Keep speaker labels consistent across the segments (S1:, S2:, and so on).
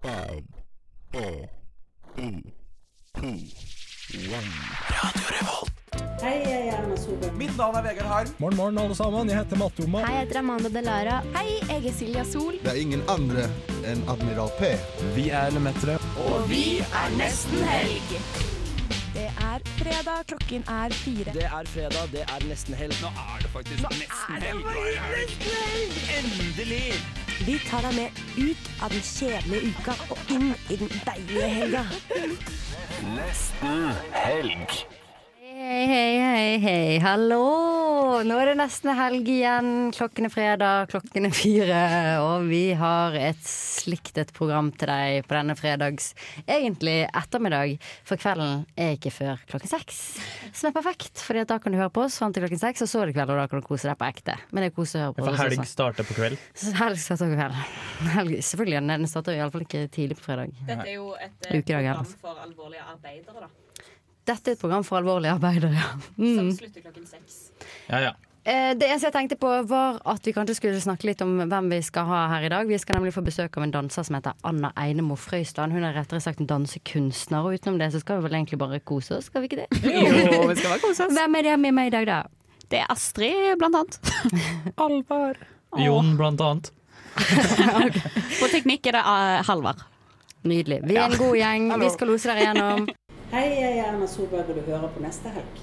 S1: five, four, three, two, one.
S2: Hei, jeg er Erna Solberg.
S3: Mitt navn er Vegard Harm.
S4: Morgen, morgen, alle sammen. Jeg heter Matte-Oma.
S5: Hei, jeg heter Amanda Delara. Hei, jeg er Silja Sol.
S6: Det er ingen andre enn Admiral P.
S4: Vi er Lemetere.
S5: Og vi er nesten helg. Det er fredag, klokken er fire.
S3: Det er fredag, det er nesten helg. Nå er det faktisk nesten helg. Endelig!
S7: Vi tar deg med ut av den kjedelige uka og inn i den deilige helga.
S8: Hei, hei, hei, hei, hallo! Nå er det nesten helg igjen. Klokken er fredag, klokken er fire. Og vi har et slikt et program til deg på denne fredags egentlig ettermiddag. For kvelden er ikke før klokken seks. Som er perfekt, for da kan du høre på oss fram til klokken seks, og så er det kveld, og da kan du kose deg på ekte. Men det er kose å høre på
S9: For
S8: oss
S9: helg
S8: også.
S9: starter på kveld.
S8: Helg starter på kvelden. Helg, selvfølgelig, den starter iallfall ikke tidlig på fredag.
S2: Dette er jo et eh,
S8: Ukedag, ja.
S2: program for alvorlige arbeidere, da.
S8: Dette er et program for alvorlige arbeidere, ja.
S10: Mm.
S2: Som slutter klokken seks.
S9: Ja, ja.
S8: Eh, Det eneste jeg tenkte på var at vi kanskje skulle snakke litt om hvem vi skal ha her i dag. Vi skal nemlig få besøk av en danser som heter Anna Einemo Frøysland. Hun er rettere sagt en dansekunstner, og utenom det så skal vi vel egentlig bare kose oss, skal vi ikke det?
S10: Jo, vi skal bare kose oss.
S8: Hvem er det med meg i dag, da?
S10: Det er Astrid, blant annet. Alvar.
S9: Jon, blant annet.
S10: På teknikk er det eh, Halvard.
S8: Nydelig. Vi er en god gjeng. Vi skal lose dere gjennom.
S2: Hei, jeg er Erna Solberg, og du hører på neste helg.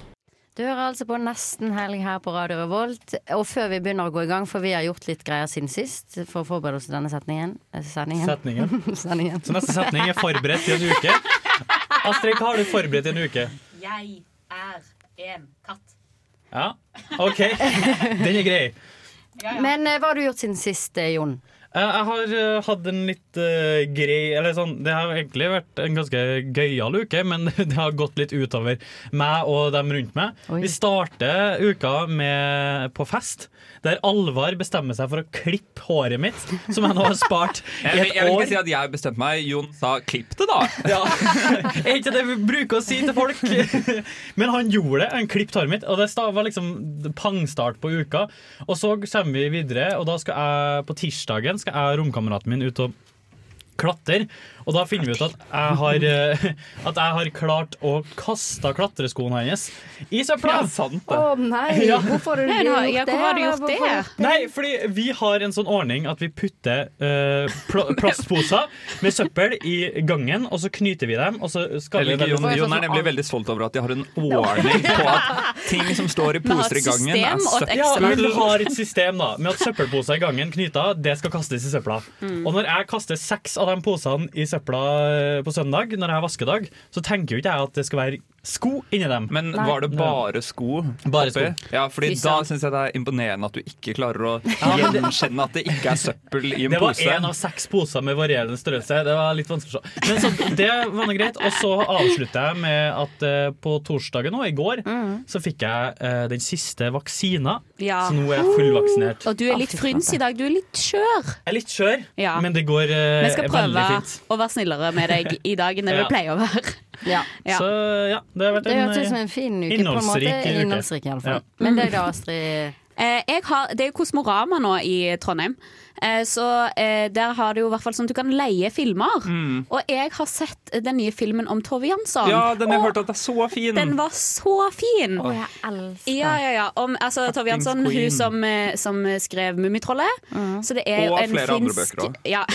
S8: Du hører altså på Nesten helg her på Radio Revolt. Og før vi begynner å gå i gang, for vi har gjort litt greier siden sist for å forberede oss til denne setningen eh, Sendingen.
S9: Setningen.
S8: Sendingen.
S9: Så neste setning er forberedt i en uke. Astrid, hva har du forberedt i en uke?
S2: Jeg er en katt.
S9: Ja, OK. Den er grei.
S8: Men eh, hva har du gjort siden sist, eh, Jon?
S9: Eh, Jeg har eh, hatt en litt eh, grei Eller sånn, det har egentlig vært en ganske gøyal uke, men det har gått litt utover meg og dem rundt meg.
S8: Oi.
S9: Vi starter uka med, på fest, der Alvar bestemmer seg for å klippe håret mitt, som jeg nå har spart i
S3: Jeg,
S9: et
S3: jeg vil
S9: år.
S3: ikke si at jeg bestemte meg. Jon sa 'klipp det', da.
S9: Ja. Er ikke det vi bruker å si til folk? Men han gjorde det. Han klippet håret mitt. Og det sta- var liksom pangstart på uka. Og så kommer vi videre, og da skal jeg på tirsdagen skal jeg og romkameraten min ut og klatre. Og da finner vi ut at jeg har, eh, at jeg har klart å kaste klatreskoene hans i søpla.
S3: Ja, sant
S8: Å
S3: det.
S8: nei,
S9: Ja.
S8: hvorfor har du
S10: Ja,
S8: gjort det?
S10: ja, hvorfor har du gjort
S8: Hvorfor-
S10: det?
S9: Nei, fordi vi har en sånn ordning at vi putter eh, pl plastposer med søppel i gangen, og så knyter vi dem, og så skal vi
S3: Eller,
S9: dem
S3: Jon,
S8: Hvorfor er det
S3: Jon
S8: sånn
S3: er nemlig
S8: alt?
S3: veldig stolt over at de har en warning på at ting som står i
S10: har
S3: poser i
S10: et
S3: gangen,
S10: system
S3: er
S10: og et
S3: søppel.
S9: Ja,
S10: Excel.
S9: men du har et system da med at søppelposer i gangen knyta, det skal kastes i søpla.
S10: Mm.
S9: Og når jeg kaster seks av de posene i søpla eh, på søndag, når jeg har vaskedag, så tenker jo ikke jeg at det skal være sko inni dem.
S3: Men var det bare sko?
S9: Bare sko.
S3: oppi? Ja, fordi
S10: Fy
S3: da
S10: søren.
S3: syns jeg det er imponerende at du ikke klarer å gjenkjenne at det ikke er søppel i en
S9: det var
S3: pose.
S9: én av seks poser med varierende størrelse. Det var litt vanskelig å se. Men så, det var noe greit. Og så avslutter jeg med at eh, på torsdagen og i går så fikk jeg eh, den siste vaksina,
S10: Mm. Ja.
S9: så nå er jeg fullvaksinert.
S10: Og du er litt fryns i dag. Du er litt skjør.
S9: Jeg er litt skjør,
S10: Ja.
S9: men det går eh,
S10: Vi skal prøve
S9: veldig fint.
S10: å være snillere med deg i dag enn det vi
S9: Ja.
S10: pleier å være.
S8: Ja.
S10: Ja.
S9: Så ja, det har vært
S8: Det
S9: en
S8: hørtes ut som en fin uke. på en måte.
S9: Innholdsrik uke.
S8: eh, Innholdsrik i alle fall. Men deg da, Astrid?
S10: Eh, jeg har, det er jo Kosmorama nå i Trondheim. Eh, så eh, der har det jo i hvert fall sånn at du kan leie filmer. Og jeg har sett den nye filmen om Tove Jansson.
S3: Mm. Ja, den jeg
S10: Og
S3: hørte at det er så fin.
S10: den var så fin!
S8: Å, jeg elsker
S10: Ja, ja, ja. Om, altså, Tove Jansson,
S3: queen.
S10: hun som, eh, som skrev Mummitrollet. Så det er jo
S3: Og
S10: en
S3: flere andre
S10: finsk-
S3: bøker også.
S10: Ja.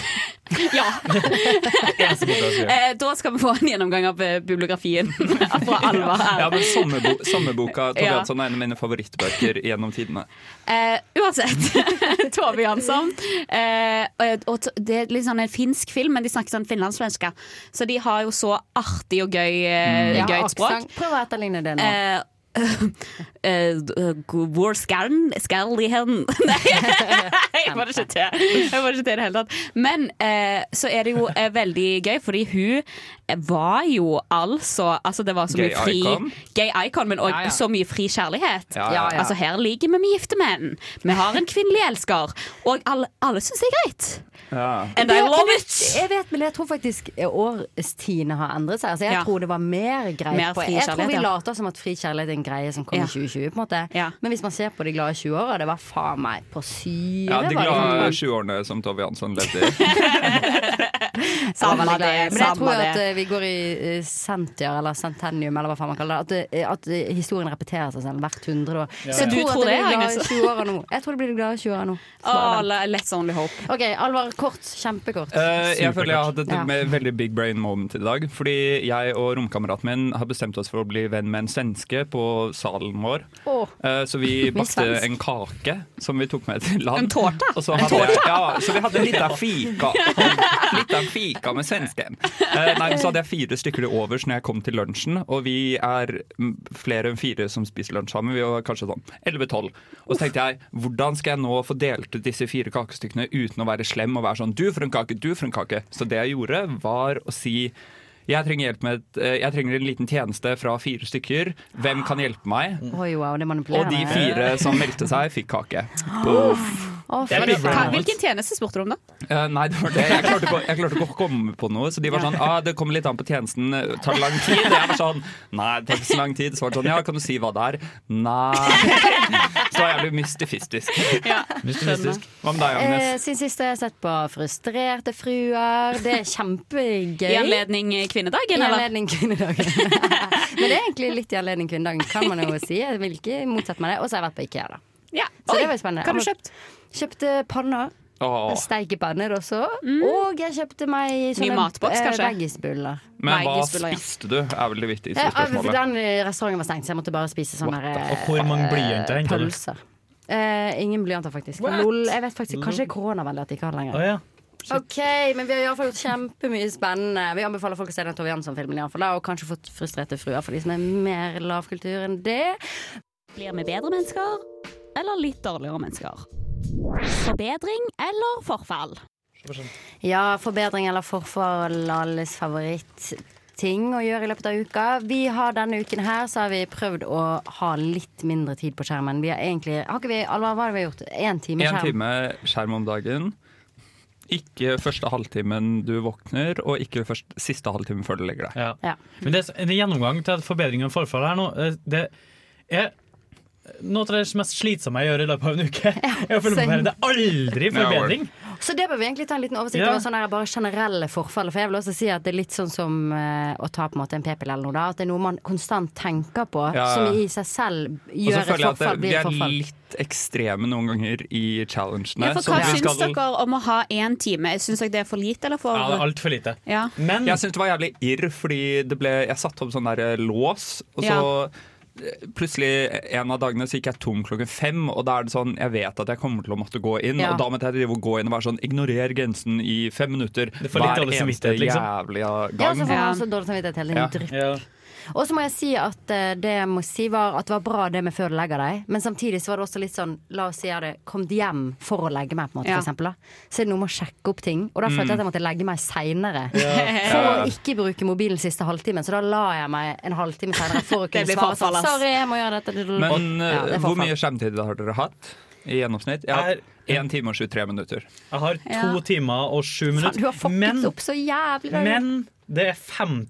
S10: ja. Eh, da skal vi få en gjennomgang av eh, bibliografien fra Alvar.
S3: Ja, men sommerbo Sommerboka Tove
S10: Ja.
S3: Jansson er en av mine favorittbøker gjennom tidene.
S10: Eh, uansett, Tove Jansson. Eh, og- og t- det er litt sånn en finsk film, men de snakker sånn finlandssvenska. Så de har jo så artig og gøy, eh,
S8: Mm. Ja,
S10: gøyt språk.
S8: aksent. Prøv å etterligne det nå.
S10: Eh, eh, Hvor skal skal de hen? Nei, jeg får det ikke til. Jeg får det ikke til i det hele tatt. Men eh, så er det jo eh, veldig gøy, fordi hun eh, var jo altså Altså, det var så mye
S3: Gay
S10: fri
S3: icon.
S10: Gay icon, men òg
S3: Ja, ja.
S10: så mye fri kjærlighet.
S3: Ja, ja.
S8: Ja, ja.
S10: Altså, her ligger vi med gifte menn. Vi har en kvinnelig elsker. Og alle, alle syns det er greit. And I
S8: Jeg vet-
S10: love
S8: jeg
S10: it!
S8: vet- Jeg vet, men jeg tror faktisk årstidene har endret seg. Altså, jeg
S10: Ja.
S8: tror det var mer greit
S10: Mer
S8: på
S10: fri
S8: Jeg tror
S10: kjærlighet,
S8: vi
S10: ja.
S8: later som at fri kjærlighet er en greie som kom
S10: Ja.
S8: i 2020, på en måte.
S10: Ja.
S8: Men hvis man ser på de glade 20-åra, det var faen meg på syre.
S3: Ja, De
S8: var det. sånn-
S3: glade 20-årene som Tove Jansson levde i.
S10: Samme
S8: Veldig glad i
S10: det,
S8: det. Men jeg
S10: samme
S8: tror jo at
S10: det.
S8: eh, vi går i eh, sentier, eller centennium, eller hva faen man kaller det. At, eh, at eh, historien repeterer seg selv hvert hundre år. Så
S10: Så
S8: jeg
S10: du
S8: tror,
S10: tror
S8: at jeg
S10: det,
S8: blir glad i
S10: Agnes?
S8: 20-åra nå. Jeg tror jeg blir glad i 20-åra nå.
S10: Åh, la- let's only hope.
S8: OK, Alvar, kort. Kjempekort.
S3: Eh, jeg føler jeg har hatt et
S8: Ja.
S3: med- veldig big brain moment i dag. Fordi jeg og romkameraten min har bestemt oss for å bli venn med en svenske på salen vår.
S8: Åh.
S3: Eh, så vi
S8: Mye
S3: bakte
S8: svensk.
S3: en kake som vi tok med til land.
S10: En tårta?
S3: Og så, hadde jeg, ja, så vi hadde litt av fika. Litt av fika med svensken. Eh, nei, men så hadde jeg fire stykker til overs når jeg kom til lunsjen, og vi er mm, flere enn fire som spiser lunsj sammen. Vi var kanskje sånn 11-12. Og så tenkte jeg, hvordan skal jeg nå få delt ut disse fire kakestykkene uten å være slem og være sånn du for en kake, du for en kake. Så det jeg gjorde, var å si jeg trenger, hjelp med et, eh, jeg trenger en liten tjeneste fra fire stykker. Hvem kan hjelpe meg?
S8: Oi, wow, det
S3: Og
S8: manipulerer
S3: de
S8: meg.
S3: fire som meldte seg, fikk kake. Boom.
S8: Å,
S9: Det er
S8: fy
S9: big
S8: faen.
S10: Hva,
S9: brain moment.
S10: hvilken tjeneste spurte du om, da?
S3: Eh, nei, det var det. Jeg klarte, ikke, å- jeg klarte ikke å komme på noe. Så de var sånn ah, 'Det kommer litt an på tjenesten. Tar det lang tid?' Jeg var sånn Nei, det tar ikke så lang tid. Så var det sånn Ja, kan du si hva det er? Nei. Så var jeg jævlig mystifistisk. mystifistisk. Hva med deg,
S8: Eh,
S3: Agnes?
S8: Siden sist har jeg sett på Frustrerte fruer. Det er kjempegøy.
S10: I anledning eh, kvinnedagen,
S8: I
S10: eller?
S8: anledning kvinnedagen. Men det er egentlig litt i anledning kvinnedagen, kan man jo si. Jeg vil ikke motsette meg det. Og så har jeg vært på Ikea, da.
S10: Ja.
S8: Så
S10: Oi,
S8: det var spennende.
S10: Hva har du kjøpt?
S8: Kjøpte panner.
S3: Åh.
S8: Steikepanner også. Og jeg kjøpte meg sånne
S10: matboks,
S8: eh,
S10: kanskje?
S8: veggisbuller.
S3: Men hva
S10: Veggisbuller, ja.
S3: spiste du? er vel det viktigste
S8: Eh, for
S3: spørsmålet.
S8: Den eh, restauranten var stengt, så jeg måtte bare spise sånne
S3: What the-
S8: eh,
S9: Og hvor mange blyanter hentet du?
S8: pølser. Eh, ingen blyanter, faktisk. Lol, jeg vet faktisk, Kanskje det er koronavennlig at de ikke har det lenger.
S9: Å ja.
S8: Ok, men vi har i hvert fall gjort kjempemye spennende. Vi anbefaler folk å se den Tove Jansson-filmen, i hvert fall, da, og kanskje fått frustrerte fruer for de som er mer lavkultur enn det.
S10: Blir vi bedre mennesker, eller litt dårligere mennesker? Forbedring eller forfall?
S8: Ja, forbedring eller forfall, alles favorittting å gjøre i løpet av uka. Vi har Denne uken her så har vi prøvd å ha litt mindre tid på skjermen. Vi har egentlig Har ikke vi Alvar, hva har vi gjort? Én time
S3: Én
S8: skjerm?
S3: time skjerm om dagen. Ikke første halvtimen du våkner, og ikke først, siste halvtimen før du legger deg.
S9: Ja.
S8: Ja.
S9: Men det er en gjennomgang til forbedring og forfall her nå. eh, Det er noe av det mest slitsomme jeg gjør i løpet av en uke. Jeg føler på
S8: same.
S9: det er aldri forbedring.
S8: Så det bør vi egentlig ta en liten oversikt
S9: Ja.
S8: over sånn her bare generelle forfall. For jeg vil også si at det er litt sånn som eh, å ta på en måte en p-pille eller noe da. At det er noe man konstant tenker på,
S3: Ja.
S8: som i seg selv
S3: Og så
S8: gjør et
S3: føler jeg at det,
S8: forfall
S3: vi
S8: blir et
S3: er
S8: forfall.
S3: litt ekstreme noen ganger i challengene.
S10: Ja, for
S3: så
S10: hva
S3: vi
S10: syns
S3: skal-
S10: dere om å ha én time? Syns dere det er for lite, eller for
S9: Ja, det er altfor lite.
S10: Ja.
S9: Men
S3: Jeg syns det var jævlig irr, fordi det ble, jeg satte opp sånn der eh, lås, og så eh, Plutselig en av dagene så gikk jeg tom klokken fem, og da er det sånn Jeg vet at jeg kommer til å måtte gå inn,
S8: Ja.
S3: og da måtte jeg drive og gå inn og være sånn Ignorer grensen i fem minutter
S9: Det får litt
S3: hver
S9: dårlig
S3: eneste
S9: samvittighet, liksom.
S3: jævla
S8: Ja, så
S3: gang.
S8: får man
S10: Ja.
S8: også dårlig samvittighet hele
S3: Ja.
S8: tiden. Drypp.
S9: ja.
S8: Og så må jeg si at eh, det jeg må si var at det var bra det med før du legger deg, men samtidig så var det også litt sånn La oss si jeg hadde kommet hjem for å legge meg, på en måte,
S10: Ja.
S8: for eksempel. Da. Så er det noe med å sjekke opp ting, og da følte jeg at jeg måtte legge meg seinere. For å
S3: Ja.
S8: ikke bruke mobilen siste halvtimen, så da la jeg meg en halvtime seinere for å
S10: Det
S8: kunne
S10: blir
S8: svare
S10: forfall,
S8: sånn
S10: ass.
S8: Sorry, jeg må gjøre dette.
S3: Men eh,
S8: Ja, det er
S3: hvor
S8: forfall.
S3: mye skjermtid har dere hatt i gjennomsnitt? Jeg har
S9: Er-
S3: én time og 23 minutter.
S9: Jeg har
S10: Ja.
S9: to timer og sju
S8: Faen, du har
S9: minutter.
S8: fucket
S9: Men,
S8: opp så jævlig. da.
S9: men det er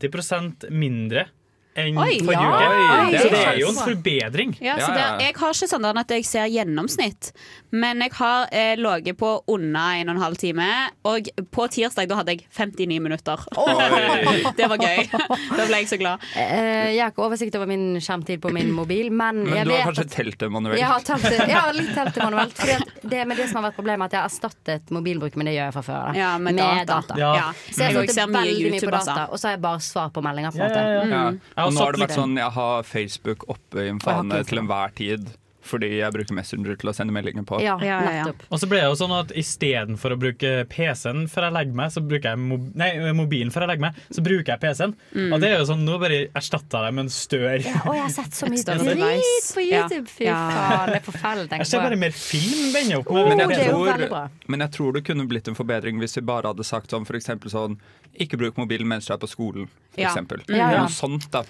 S9: 50 mindre enn
S10: Oi,
S9: forrige
S10: ja.
S9: uke.
S3: Oi,
S9: Så det er
S3: nice.
S9: jo en forbedring.
S10: Ja, så
S3: Ja, ja, ja.
S10: det- jeg har ikke sånn at jeg ser gjennomsnitt, men jeg har eh, ligget på under en og en halv time. Og på tirsdag da hadde jeg 59 minutter. det var gøy. Da ble jeg så glad.
S8: Eh, jeg har ikke oversikt over min skjermtid på min mobil, men,
S3: Men
S8: jeg
S3: du
S8: vet
S3: har kanskje
S8: at
S3: telt det manuelt?
S8: Jeg har, telt det, jeg har litt telt det manuelt. Fordi at det, men det som har vært problemet, er at jeg har erstattet mobilbruk, men det gjør jeg fra før. Da.
S10: Ja, med, data.
S9: Ja.
S8: Så jeg
S10: jo
S8: setter veldig mye på data,
S10: altså.
S8: og så har jeg bare svar på meldinger. På en
S9: Ja,
S8: måte. Mm.
S9: ja, ja.
S3: Ja.
S9: har
S3: Og nå har
S9: satt
S3: det vært
S9: litt-
S3: sånn, jeg har Facebook oppe i
S8: har
S3: en fane
S8: ikke
S3: til enhver tid. Fordi jeg bruker Messenger til å sende meldinger på.
S8: Ja,
S10: Ja, ja, ja.
S8: nettopp.
S9: Og så ble det jo sånn at istedenfor å bruke PC-en før jeg legger meg, så bruker jeg mob nei, mobilen før jeg legger meg, så bruker jeg PC-en.
S10: Mm.
S9: Og det er jo sånn, nå bare erstatter jeg med en stør.
S8: Å, jeg har sett så mye
S10: større
S8: drit
S10: device.
S8: på YouTube! Fy
S10: Ja.
S8: faen, det er forferdelig. å tenke
S9: Jeg ser
S8: på.
S9: bare mer film denne opp
S8: Oh,
S9: med.
S3: Men
S8: det
S3: jeg,
S8: er jo veldig bra.
S3: tror, men jeg tror det kunne blitt en forbedring hvis vi bare hadde sagt sånn f.eks. sånn Ikke bruk mobilen mens du er på skolen,
S10: Ja.
S3: f.eks.
S8: Ja, ja.
S3: Noe sånt, da.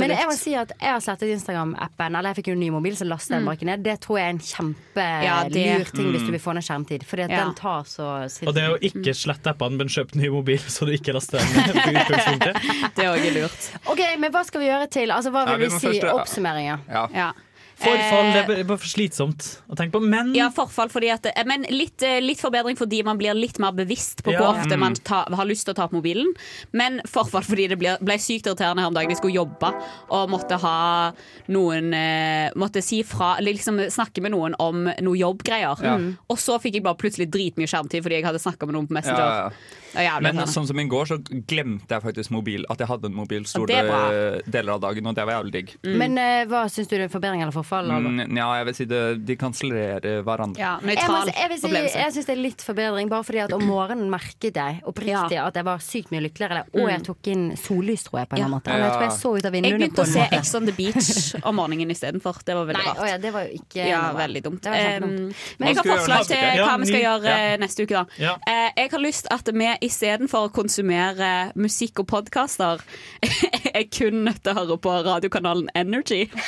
S8: Men jeg må
S10: Absolutt.
S8: si at jeg har slettet Instagram-appen. Eller jeg fikk jo en ny mobil, så lastet jeg den bare ikke ned. Det tror jeg er en kjempelur
S10: Mm. Ja, det-
S8: ting hvis du vil få ned skjermtid. Fordi at
S10: Ja.
S8: den tar så
S9: Mm. Og det er jo ikke slett appene, men kjøp ny mobil, så du ikke laster den ned. på utgangspunktet.
S10: Det er òg lurt.
S8: OK, men hva skal vi gjøre til? Altså, hva
S3: Nei,
S8: vil
S3: vi
S8: vi
S3: må
S8: si?
S3: først-
S8: Oppsummeringer.
S3: Ja.
S10: Ja.
S9: Forfall det er bare- bare for slitsomt å tenke på. Men
S10: Ja, forfall fordi at eh, Men litt, eh, litt forbedring fordi man blir litt mer bevisst på hvor
S9: Ja.
S10: ofte
S9: Mm.
S10: man ta, har lyst til å ta opp mobilen. Men forfall fordi det ble, ble sykt irriterende her om dagen. Jeg skulle jobbe og måtte ha noen eh, Måtte si fra eller liksom snakke med noen om noe jobbgreier.
S3: Ja.
S8: Mm.
S10: Og så fikk jeg bare plutselig dritmye skjermtid fordi jeg hadde snakka med noen på Messenger.
S3: Ja, ja.
S10: Det var jævlig
S3: Men
S10: irriterende.
S3: sånn som i går, så glemte jeg faktisk mobil. At jeg hadde en mobil store
S8: det er bra.
S3: deler av dagen, og det var jævlig digg.
S10: Mm.
S8: Men eh, hva syns du det er forbedring eller forfall? Alvar?
S3: Mm, ja, jeg vil si det, de kansellerer hverandre.
S8: jeg må si- jeg vil si- Jeg syns det er litt forbedring, bare fordi at om morgenen merket jeg oppriktig at jeg var sykt mye lykkeligere. Og jeg tok inn sollys, tror jeg, på en eller annen måte. Jeg tror jeg så ut av
S10: Mm. Jeg
S8: vinduene
S10: begynte
S8: på
S10: å
S8: en
S10: se
S8: måte.
S10: Ex on the Beach om morgenen istedenfor. Det var
S8: Nei,
S10: veldig rart.
S8: å ja, det var jo ikke
S10: ja,
S8: noe.
S10: veldig dumt.
S8: Det var kjempedumt.
S10: Eh,
S8: Men-
S10: jeg har forslag til
S8: Ja,
S10: hva vi skal
S8: ny-
S10: gjøre
S8: ja.
S10: eh, neste uke, da.
S8: Ja.
S10: Eh, Jeg har lyst at vi istedenfor å konsumere eh, musikk og podkaster, er kun nødt til å høre på radiokanalen Energy.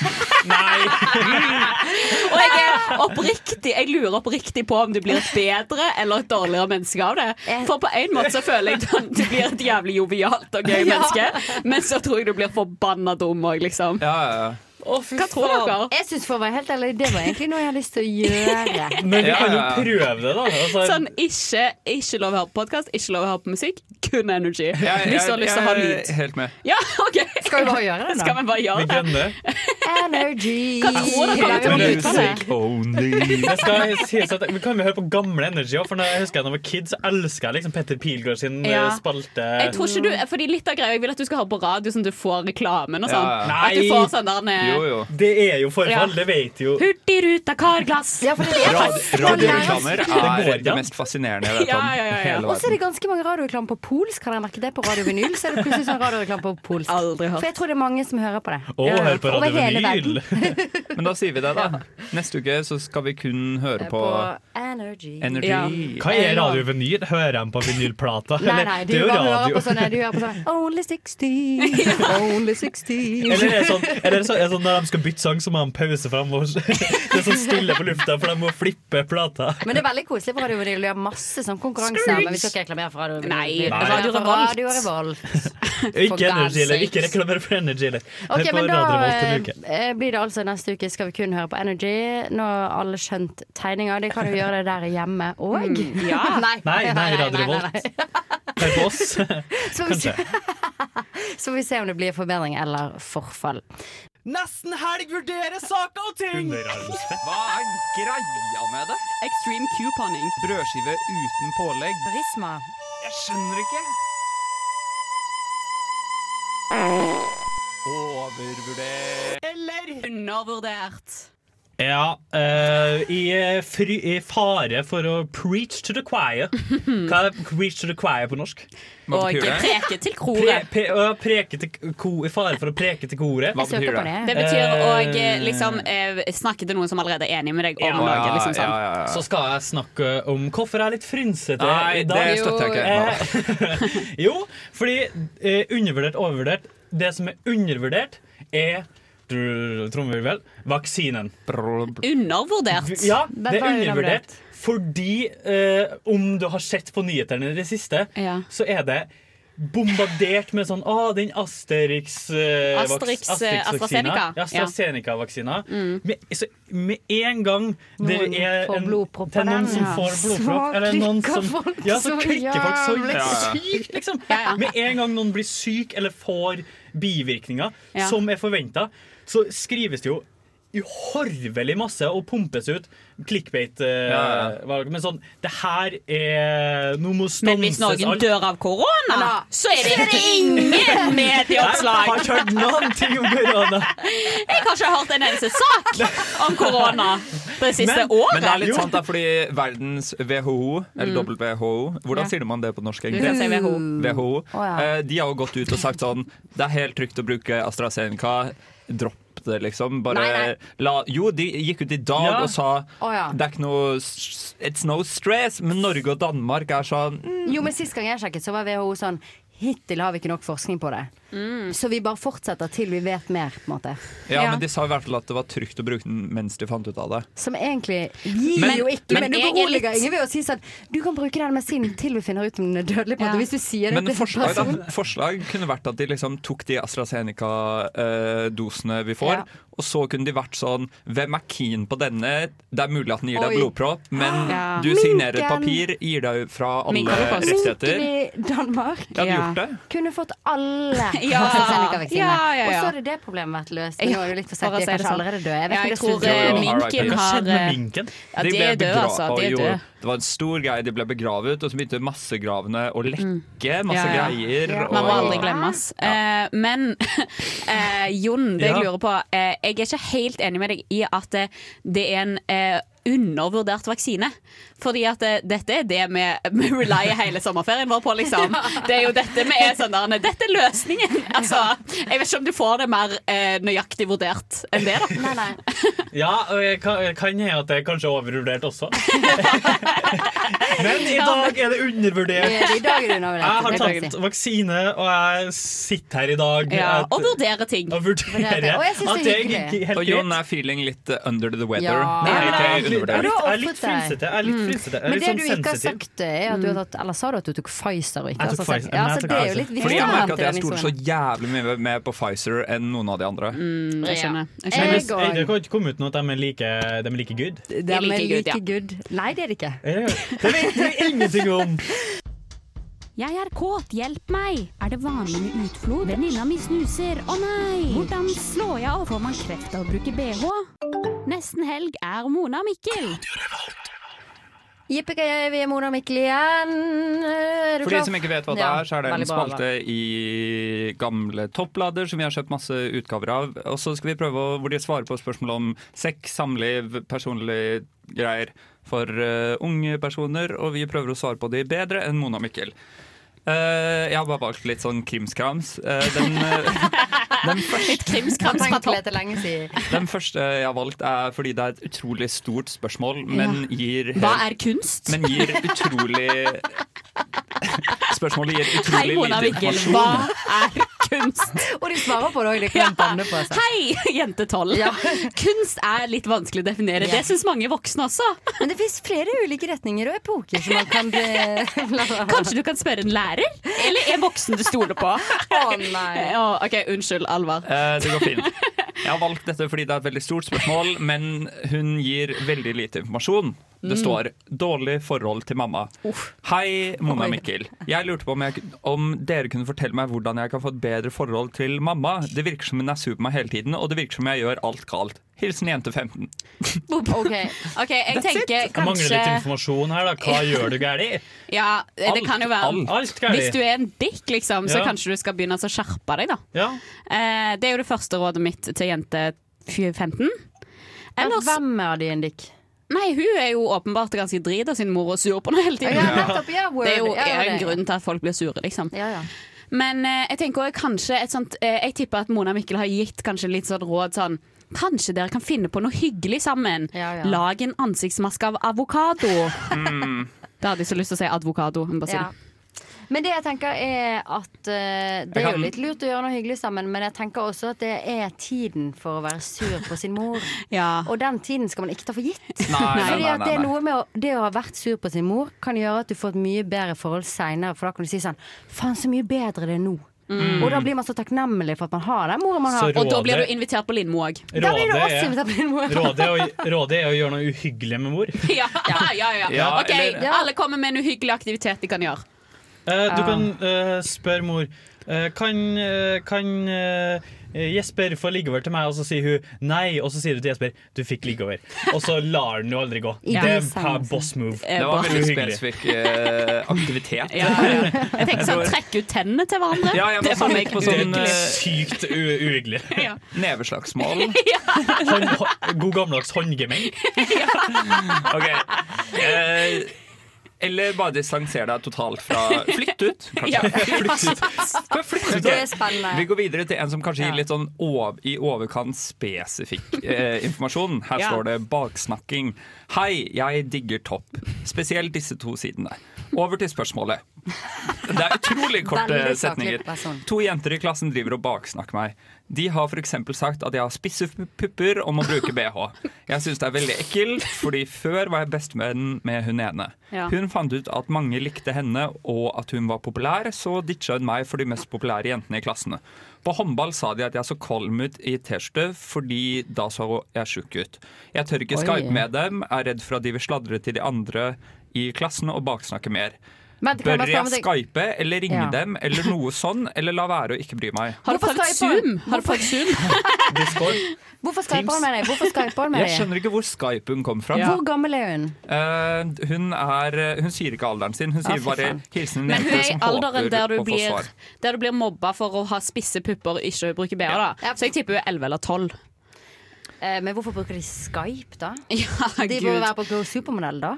S10: Og jeg er oppriktig Jeg lurer oppriktig på om du blir et bedre eller et dårligere menneske av det. For på en måte så føler jeg at du blir et jævlig jovialt og gøy
S8: Ja.
S10: menneske, men så tror jeg du blir forbanna dum òg, liksom.
S3: Ja, ja, ja.
S10: Hva tror dere?
S8: Jeg syns for å være helt ærlig, det var egentlig noe jeg hadde lyst til å gjøre.
S9: Men vi kan jo
S3: Ja, ja.
S9: prøve det, da. Altså,
S10: Sånn, ikke, ikke lov å høre på podkast, ikke lov å høre på musikk, kun energy. Hvis du har lyst til å ha
S3: jeg er
S10: lyd.
S3: Helt med.
S10: Ja, OK.
S8: Skal vi bare gjøre det, da?
S10: Skal vi bare gjøre det?
S8: Energy.
S10: Hva tror dere
S8: Lager
S10: om
S8: vi
S10: lyden?
S8: ut av det?
S9: Jeg skal sies at Vi kan jo høre på gamle Energy òg, for når jeg husker jeg da jeg var kid, så elska jeg liksom Petter Pilgaard sin eh,
S10: Ja.
S9: spalte.
S10: Jeg tror ikke du, fordi litt av greia, jeg vil at du skal høre på radio sånn at du får reklamen og sånn.
S9: Ja, ja.
S10: At du
S9: Nei.
S10: får sånn der ne-
S9: Det er jo forfall,
S10: Ja.
S9: det vet jo
S10: Hurtigruta karglass.
S8: Ja, for det er
S3: Rad- Radioreklamer
S9: Det går
S3: er det mest fascinerende jeg vet om.
S10: Ja, ja, ja, ja.
S3: i hele
S8: Og så er
S3: verden.
S8: det ganske mange radioreklamer på polsk. Har dere merket det på Radio Vinyl? Så er det plutselig sånn radioreklame på polsk. For jeg tror det er mange som hører på det.
S3: Å,
S8: Ja.
S3: hører på Radio
S8: Over hele
S3: Vinyl.
S8: verden.
S3: Men da sier vi det, da. Neste uke så skal vi kun høre på
S8: Eh, Energy.
S3: Energy.
S8: Ja.
S9: Hva er radio vinyl? Hører de på vinylplata?
S8: Nei,
S9: Eller,
S8: nei, du
S9: det er jo
S8: bare hører
S9: radio.
S8: på sånn- sånne, du hører på sånne Only 60, only 60
S9: Eller er det sånn, eller er det sånn, er det sånn når de skal bytte sang, så må de pause framover? Det er sånn stille på lufta, for de må flippe plata.
S8: Men det er veldig koselig på Radio Vinyl. Vi har masse sånn konkurranser. Men vi skal ikke reklamere for Radio Vinyl.
S10: Nei,
S8: Vi
S9: Nei.
S8: reklamerer for
S10: Radio
S8: Radio Revolt.
S9: Ikke
S8: God's
S9: energy, eller
S8: sakes.
S9: ikke reklamere for energy, eller.
S8: Ok,
S9: Hør på
S8: men da
S9: Radio Revolt en uke.
S8: eh, blir det altså neste uke skal vi kun høre på Energy. Nå har alle skjønt tegninger. De kan jo gjøre det der hjemme òg.
S10: Mm, ja.
S9: Nei, nei, Radio
S8: nei, nei,
S9: Revolt.
S8: nei.
S9: Hør på oss.
S8: Så vi, se- så vi ser om det blir forbedring eller forfall.
S11: Nesten helg vurderer saker og ting.
S3: Hva er greia med det?
S10: Extreme couponing.
S3: Brødskive uten pålegg.
S8: Risma.
S3: Jeg skjønner ikke. Overvurdert.
S10: Eller undervurdert.
S9: Ja, eh, i, fry, i fare for å preach to the choir. Hva er preach to the choir på norsk?
S10: Hva Og betyr det? preke til
S9: Pre,
S10: koret.
S9: pre, å preke til ko, I fare for å preke til koret.
S10: Hva betyr det? Det betyr å eh,
S9: Eh,
S10: liksom, eh, snakke til noen som allerede er enig med deg om noe. Liksom sånn.
S9: Så skal jeg snakke om hvorfor jeg er litt frynsete
S3: Nei,
S9: i dag.
S3: det støtter jeg
S9: ikke. jo, fordi eh, undervurdert, overvurdert Det som er undervurdert, er Trommevirvel. Vaksinen.
S10: Undervurdert.
S9: Ja, det er undervurdert fordi eh, om du har sett på nyhetene i det siste, så er det bombardert med sånn Å, den Asterix eh, vaks-
S10: Asterix, eh,
S9: Asterix-vaksina.
S10: AstraZeneca. Mm.
S9: Ja, AstraZeneca-vaksina. Med, så, med en gang det
S10: Noen
S9: er
S10: får
S9: en,
S10: blodpropp
S9: til
S10: av
S9: noen
S10: den,
S9: som
S10: ja.
S9: får
S10: Så
S9: blodpropp eller noen
S10: klikker
S9: som,
S10: folk
S9: Ja, så
S10: så
S9: klikker folk så
S10: jævlig. Ja, ja.
S9: sykt, liksom. Med en gang noen blir syk eller får bivirkninger
S10: Ja.
S9: som er forventa, så skrives det jo uhorvelig masse og pumpes ut. Clickbait. eh,
S3: Ja,
S9: valg. Men sånn, det her er Nå må stanses
S10: Men hvis noen dør av korona,
S9: Ja.
S10: så er det ingen medieoppslag!
S9: Jeg har ikke hørt noen ting om korona.
S10: Jeg har ikke hørt en eneste sak om korona det siste året.
S3: Men det er litt sant, da, fordi verdens WHO, eller WHO Hvordan
S10: Mm. Ja.
S3: sier man det på norsk? Mm.
S10: Du kan si WHO.
S3: WHO.
S10: Å, ja.
S3: Eh, De har jo gått ut og sagt sånn Det er helt trygt å bruke AstraZeneca. Dropp det, liksom. Bare
S10: Nei, nei.
S3: la Jo, de gikk ut i dag
S9: Ja.
S3: og sa
S8: Å, ja.
S3: Det er ikke noe s- It's no stress. Men Norge og Danmark er sånn
S8: Jo, men Sist gang jeg sjekket, så var WHO sånn Hittil har vi ikke nok forskning på det.
S10: Mm.
S8: Så vi bare fortsetter til vi vet mer. på en måte
S3: ja, men de sa i hvert fall at det var trygt å bruke den mens de fant ut av det.
S8: Som egentlig gir
S3: Men-
S8: jo ikke
S3: men
S8: Men, du
S3: jeg er
S8: beroliger
S3: litt-
S8: ingen ved å si sånn Du kan bruke den medisinen til vi finner ut om den er dødelig. på en måte Hvis du sier det
S3: Men
S8: til en
S3: forslag,
S8: person.
S3: da, forslag kunne vært at de liksom tok de liksom AstraZeneca-dosene vi får,
S8: Ja.
S3: og Og så kunne de vært sånn Hvem er keen på denne? Det er mulig at den gir deg
S8: Oi.
S3: blodpropp, men
S8: Ja.
S3: du signerer et
S8: Minken.
S3: papir, gir deg fra alle
S8: Minken
S3: rettigheter.
S8: i Danmark
S3: Ja, de gjort det.
S8: kunne fått alle
S10: Ja.
S8: AstraZeneca-vaksinene.
S10: Ja, ja, ja.
S8: Og så hadde det problemet vært løst. Nå
S10: Ja,
S8: er det litt for
S10: for
S8: sent,
S10: å
S8: de
S10: si
S8: er
S10: det
S8: kanskje
S10: sånn.
S8: allerede døde. Jeg
S10: Ja,
S8: vet
S10: jeg
S8: ikke hvis
S10: tror, eh,
S8: du-
S10: Minken
S3: All right,
S10: har
S3: Hva
S10: skjedde
S8: eh,
S10: med minken? Ja,
S3: De
S10: de
S3: ble
S10: er døde,
S3: begra-
S10: altså. De er
S3: og jo,
S10: døde.
S3: Det var en stor greie. De ble begravet, og så begynte massegravene å lekke.
S10: Ja,
S3: Masse
S10: ja.
S3: greier. Og,
S10: Man må aldri glemmes. Eh, men eh, Jon, det jeg
S3: Ja.
S10: lurer på eh, Jeg er ikke helt enig med deg i at eh, det er en eh, undervurdert vaksine. Fordi at eh, dette er det vi, vi relyer hele sommerferien vår på, liksom. Det er jo dette vi er sånn der nei, Dette er løsningen! Altså, jeg vet ikke om du får det mer eh, nøyaktig vurdert enn det, da.
S8: Nei, nei.
S9: Ja, og jeg kan jeg kan hende at det er kanskje overvurdert også. Men i dag er det undervurdert.
S8: Eh, I dag er det undervurdert.
S9: Jeg har
S8: det kan jeg
S9: tatt
S8: si.
S9: vaksine, og jeg sitter her i dag
S10: Ja,
S9: at-
S10: og vurderer ting.
S9: og vurderer
S8: Vurderer. Og jeg synes
S9: at
S8: det er
S9: det er
S8: hyggelig.
S9: ikke helt
S3: og Jon
S9: greit.
S3: er feeling litt eh, under the weather.
S8: Ja.
S3: Det
S9: Nei, nei, jeg
S3: er ikke
S9: er litt- jeg er
S3: undervurdert.
S8: Men du
S9: litt-
S8: har
S9: jeg er litt
S8: offret deg.
S9: flinsete. Jeg er litt flinsete. Jeg er
S8: Men
S9: litt
S8: det
S9: sånn
S8: du ikke har
S9: sensitiv.
S8: sagt, eh, er at du har tatt Eller sa du at du tok Pfizer og ikke
S9: Jeg tok
S8: AstraZeneca?
S9: Pfizer, men
S8: Ja,
S9: jeg
S8: så
S9: tok
S8: det er jo
S9: Pfizer.
S8: litt viktig.
S3: Fordi jeg merker at jeg
S8: den
S3: stoler så
S8: historien.
S3: jævlig mye med på Pfizer enn noen av de andre.
S10: Mm, jeg skjønner. Jeg
S9: Men
S10: skjønner.
S9: hvis-
S8: Jeg går.
S9: Det kan ikke komme uten at de er like, de er like good.
S8: De er
S10: like
S8: like
S10: good, ja.
S8: good. Nei, det er det ikke.
S9: Eh, Det vet vi ingenting om!
S10: Jeg er kåt, hjelp meg! Er det vanlig med utflod? Venninna mi snuser, å nei! Hvordan slår jeg av? Får man kreft av å bruke bh? Nesten helg er Mona og Mikkel.
S8: Jippi, vi er Mona og Mikkel igjen. Er du
S3: For de
S8: klar?
S3: som ikke vet hva det
S8: Ja,
S3: er, så er det en
S8: veldig bra,
S3: spalte i gamle topplader som vi har kjøpt masse utgaver av. Og så skal vi prøve å, hvor de svarer på spørsmål om sex, samliv, personlige greier for eh, unge personer. Og vi prøver å svare på de bedre enn Mona og Mikkel. Eh, jeg har bare valgt litt sånn krimskrams. Eh, den, eh, den første
S10: Et krimskrams fra
S8: Tenk
S10: topp.
S8: litt lenge siden.
S3: den første jeg har valgt, er fordi det er et utrolig stort spørsmål, men gir
S10: Hva er kunst?
S3: men gir utrolig Spørsmålet gir
S10: Hei,
S3: utrolig
S10: Mona
S3: lite
S10: og Mikkel,
S3: informasjon.
S10: hva er kunst?
S8: Og de svarer på det òg. De kan banne på seg.
S10: Hei, jente 12.
S8: Ja.
S10: Kunst er litt vanskelig å definere.
S8: Ja.
S10: Det syns mange voksne også.
S8: Men det fins flere ulike retninger og epoker som man kan bli
S10: Kanskje du kan spørre en lærer? Eller en voksen du stoler på?
S8: Å nei.
S10: Å, OK, unnskyld, Alvar.
S3: Eh, det går fint. Jeg har valgt dette fordi det er et veldig stort spørsmål, men hun gir veldig lite informasjon. Det står 'dårlig forhold til mamma'. Hei, Mona og Mikkel. Jeg lurte på om, jeg, om dere kunne fortelle meg hvordan jeg kan få et bedre forhold til mamma. Det virker som hun er sur på meg hele tiden, og det virker som jeg gjør alt galt. Hilsen jente 15.
S8: OK.
S10: OK, jeg
S8: Eh,
S10: tenker
S9: Jeg mangler litt
S10: kanskje
S9: informasjon her, da. Hva gjør du galt?
S10: Ja, det
S3: Alt,
S10: kan jo være
S3: alt.
S9: Alt
S10: Hvis
S9: galt.
S10: du er en dick, liksom, så
S9: Ja.
S10: kanskje du skal begynne å skjerpe deg, da.
S9: Ja.
S10: Eh, det er jo det første rådet mitt til jente 15. Ellers
S8: Hvem er de en dick?
S10: Nei, hun er jo åpenbart ganske drit av sin mor og sur på henne hele
S8: Ja,
S10: tiden.
S8: nettopp. Ja, word.
S10: Det er jo
S8: Ja,
S10: er
S8: det.
S10: en grunn til at folk blir sure, liksom.
S8: Ja, ja.
S10: Men eh, jeg tenker også kanskje et sånt eh, Jeg tipper at Mona og Mikkel har gitt kanskje litt sånn råd sånn Kanskje dere kan finne på noe hyggelig sammen.
S8: Ja, ja.
S10: Lag en ansiktsmaske av avokado.
S3: Mm.
S10: Da hadde jeg så lyst til å si advokado. men Bare si
S8: Ja.
S10: det.
S8: Men det jeg tenker er at eh, Det
S3: Jeg
S8: er
S3: kan-
S8: jo litt lurt å gjøre noe hyggelig sammen, men jeg tenker også at det er tiden for å være sur på sin mor.
S10: Ja.
S8: Og den tiden skal man ikke ta for gitt.
S3: Nei, nei,
S8: Fordi
S3: nei,
S8: at det,
S3: nei,
S8: er
S3: nei.
S8: noe med å, det å ha vært sur på sin mor kan gjøre at du får et mye bedre forhold seinere, for da kan du si sånn Faen, så mye bedre det er nå. Og da blir man så takknemlig for at man har den moren man
S9: Så
S8: har.
S9: rå-
S10: Og da blir
S9: Rådet-
S10: du invitert på Lindmo òg.
S8: Da blir du
S9: Rådet
S8: også
S9: er-
S8: invitert på din mor.
S9: Rådet er, å, rådet er å gjøre noe uhyggelig med mor. Eh,
S10: Ja, ja, ja.
S3: Ja,
S10: OK,
S3: eller-
S8: Ja.
S10: alle kommer med en uhyggelig aktivitet de kan gjøre.
S9: du kan eh, spørre mor eh, Kan, eh, kan eh, Jesper få liggeover til meg? Og så sier hun nei, og så sier du til Jesper du fikk liggeover. Og så lar han jo aldri gå.
S8: I
S9: Det er
S8: de
S9: pa-
S8: sangene.
S9: boss move.
S10: Eh,
S3: Det var
S10: bare-
S3: en veldig
S9: Hyggelig.
S3: spesifikk eh, aktivitet.
S10: ja, ja. Jeg tenker sånn, Trekke ut tennene til hverandre.
S3: Ja, jeg må
S10: det var
S3: sånn
S10: meg
S3: litt på
S9: Det er
S3: sånn
S9: ikke
S3: eh,
S9: sykt u- uhyggelig.
S10: Ja.
S3: neveslagsmål.
S9: Hånd, hå- god gammeldags håndgemeng.
S3: Ok eh, Eller bare distanser deg totalt fra Flytt ut,
S10: Ja.
S3: kanskje. Kan jeg flytte ut?
S8: Det er spennende.
S3: Vi går videre til en som kanskje
S8: Ja.
S3: gir litt sånn ov i overkant spesifikk eh, informasjon. Her
S10: Ja.
S3: står det baksnakking. Hei, jeg digger topp. Spesielt disse to sidene. Over til spørsmålet. Det er utrolig korte
S8: Veldig saklig
S3: setninger.
S8: person.
S3: To jenter i klassen driver og baksnakker meg. De har f.eks. sagt at jeg har spisse pupper og må bruke bh. Jeg syns det er veldig ekkelt, fordi før var jeg bestevenn med hun ene.
S12: Ja.
S3: Hun fant ut at mange likte henne og at hun var populær, så ditcha hun meg for de mest populære jentene i klassene. På håndball sa de at jeg så kvalm ut i T-skjorte fordi da så jeg tjukk ut. Jeg tør ikke
S8: Oi.
S3: skype med dem, er redd for at de vil sladre til de andre i klassen og baksnakke mer.
S8: Men kan jeg
S3: Bør
S8: bare spørre om
S3: jeg
S8: det-
S3: skype eller ringe
S8: Ja.
S3: dem eller noe sånn, eller la være å ikke bry meg?
S10: Har du
S8: Hvorfor
S10: fått
S8: Skype-er?
S10: Zoom? Har du fått Zoom?
S3: Discord?
S8: Hvorfor skyper han med deg? Hvorfor skyper han med
S3: Jeg
S8: deg?
S3: skjønner ikke hvor Skype hun kom fra.
S8: Hvor gammel er hun?
S3: Eh, hun, er, eh, hun sier ikke alderen sin, hun
S8: Å,
S3: sier
S8: fy
S3: bare
S8: faen.
S3: 'hilsen en
S10: Men hun
S3: jente
S10: er i
S3: som
S10: alderen
S3: håper
S10: der du,
S3: å få
S10: blir,
S3: svar'.
S10: der du blir mobba for å ha spisse pupper og ikke bruke BH. da. Så jeg tipper hun er 11 eller 12.
S8: Eh, men hvorfor bruker de Skype, da? de
S10: Gud.
S8: bør være på Go Supermodell, da.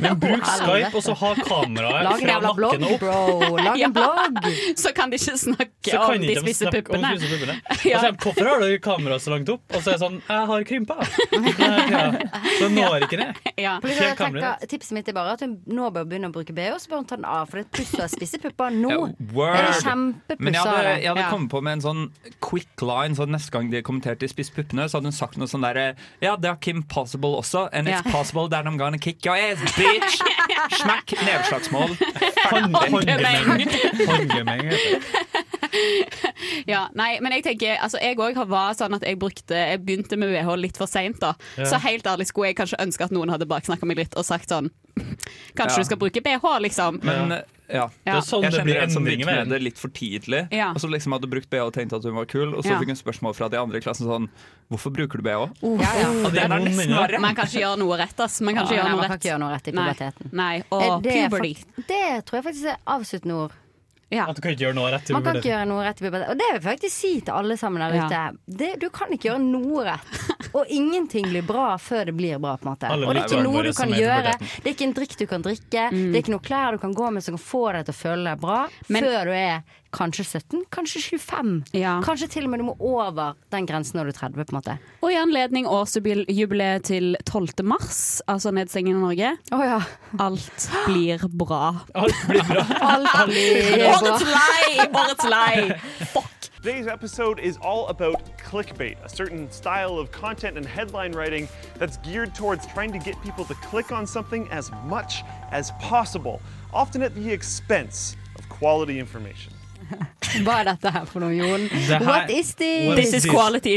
S9: Men bruk
S8: Helvete.
S9: Skype, og så ha kameraet
S8: Lag en
S9: fra
S8: jævla blogg,
S9: nakken og opp.
S8: bro. Lag en
S10: Ja.
S8: blogg.
S10: Så kan de ikke snakke
S9: Så
S10: om
S9: kan
S10: de
S9: ikke de
S10: spisse
S9: snakke om
S10: puppene.
S9: de spisse puppene. Og så er de, hvorfor har du kameraet så langt opp? Og så er det sånn Jeg har krympa. Nei, ja. Så når ikke ned.
S8: Fordi
S9: Fjell
S8: jeg
S9: kameraet.
S8: tenker, tipset mitt er bare at hun nå bør begynne å bruke BH, så bør hun ta den av. For det er pluss å ha spisse pupper nå.
S3: Word.
S8: Er Oh, det kjempepuss
S3: Men jeg hadde,
S8: av det?
S3: jeg hadde
S8: Ja.
S3: kommet på med en sånn quick line Så neste gang de kommenterte i Spiss puppene, så hadde hun sagt noe sånn derre Ja, det har Kim Possible også, and it's
S8: Ja.
S3: possible that I'm gonna kick your ass, bitch! Smack! Nedslagsmål.
S10: Håndgemeng.
S9: Håndgemeng. heter det.
S10: Ja, nei, men jeg tenker altså, Jeg òg var sånn at jeg brukte Jeg begynte med VH litt for seint, da.
S9: Ja.
S10: Så helt ærlig skulle jeg kanskje ønske at noen hadde baksnakka meg litt og sagt sånn Kanskje
S3: Ja.
S10: du skal bruke BH, liksom.
S3: Men ja,
S10: Det er sånn
S3: jeg
S10: det blir
S3: kjenner en som
S9: endringer
S3: begynte
S9: med
S3: med det litt for tidlig.
S10: Ja.
S3: Og så liksom hadde brukt BH og tenkt at hun var kul, og så
S10: Ja.
S3: fikk hun spørsmål fra de andre i klassen sånn Hvorfor bruker du BH?
S8: Oh,
S10: Ja, ja.
S3: Og den er nesten verre.
S10: Man kan ikke gjøre noe rett, ass. Man kan ikke
S8: Ja,
S10: gjøre
S8: nei,
S10: noe
S8: man
S10: rett.
S8: kan ikke gjøre noe rett i puberteten.
S10: Nei, nei.
S8: Er
S10: og
S8: det
S10: puberty.
S8: fakt- Det tror jeg faktisk er avsluttende ord.
S9: At du kan ikke gjøre noe rett.
S8: Man kan ikke gjøre noe rett i puberteten. Og det vil jeg faktisk si til alle sammen der
S9: Ja.
S8: ute. Det, du kan ikke gjøre noe rett. Og ingenting blir bra før det blir bra. på en måte
S10: Alle
S8: Og det er ikke
S10: liker
S8: noe
S10: våre
S8: du kan
S10: som er i
S8: gjøre.
S10: puberteten.
S8: Det er ikke en drikk du kan drikke. Det er ikke noe klær du kan gå med som kan få deg til å føle deg bra
S10: Men-
S8: før du er kanskje 17, kanskje 25. Kanskje til og med du må over den grensen når du er 30. på en måte
S10: Og i anledning årsjubileet til 12. mars, altså nedstengingen av Norge Alt blir bra.
S9: Alt blir bra.
S10: Alt blir bra. Årets lei! Årets lei!
S13: Today's episode is all about clickbait, a certain style of content and headline writing that's geared towards trying to get people to click on something as much as possible, often at the expense of quality information.
S8: Hva er dette her for noe, Jon?
S9: Det her-
S8: What is this?
S9: What This is
S8: tror jeg.
S9: quality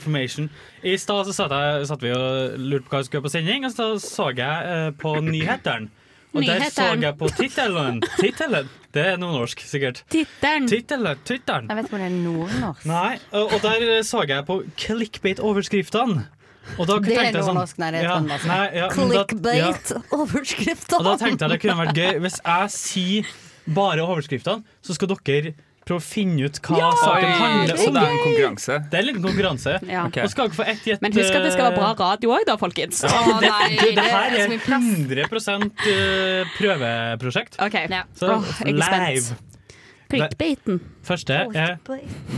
S9: information. I stad så satt, jeg, satt vi og lurte på hva vi skulle gjøre på sending, og så så jeg eh, på nyhetene. Og der så
S10: Nyheteren.
S9: jeg på tittelen. Tittelen! Det er nordnorsk, sikkert.
S10: Tittelen.
S9: Tittelen. Tittelen.
S8: Jeg vet ikke om det er nordnorsk.
S9: Nei, og og der så jeg på clickbait-overskriftene. Og da
S8: Det er
S9: tenkte jeg sånn-
S8: nordnorsk, nei, det er
S9: Ja,
S8: trøndersk.
S9: nei, ja, men da- ja.
S8: Clickbait-overskrifter.
S9: Og da tenkte jeg det kunne vært gøy Hvis jeg sier bare overskriftene, så skal dere prøve å finne ut hva
S3: Ja!
S9: saken
S3: Oi,
S9: handler
S3: så det er en konkurranse?
S9: Det er en liten konkurranse.
S10: Ja.
S9: Og skal dere få ett gjett
S10: Men husk at det skal være bra
S9: eh,
S10: radio òg, da, folkens.
S9: ja, det, det, det her er
S10: så mye
S9: 100 eh, prøveprosjekt.
S10: Ok. Ja.
S9: Så
S10: Åh, jeg er
S9: live.
S10: spent. Clickbaiten.
S9: Første er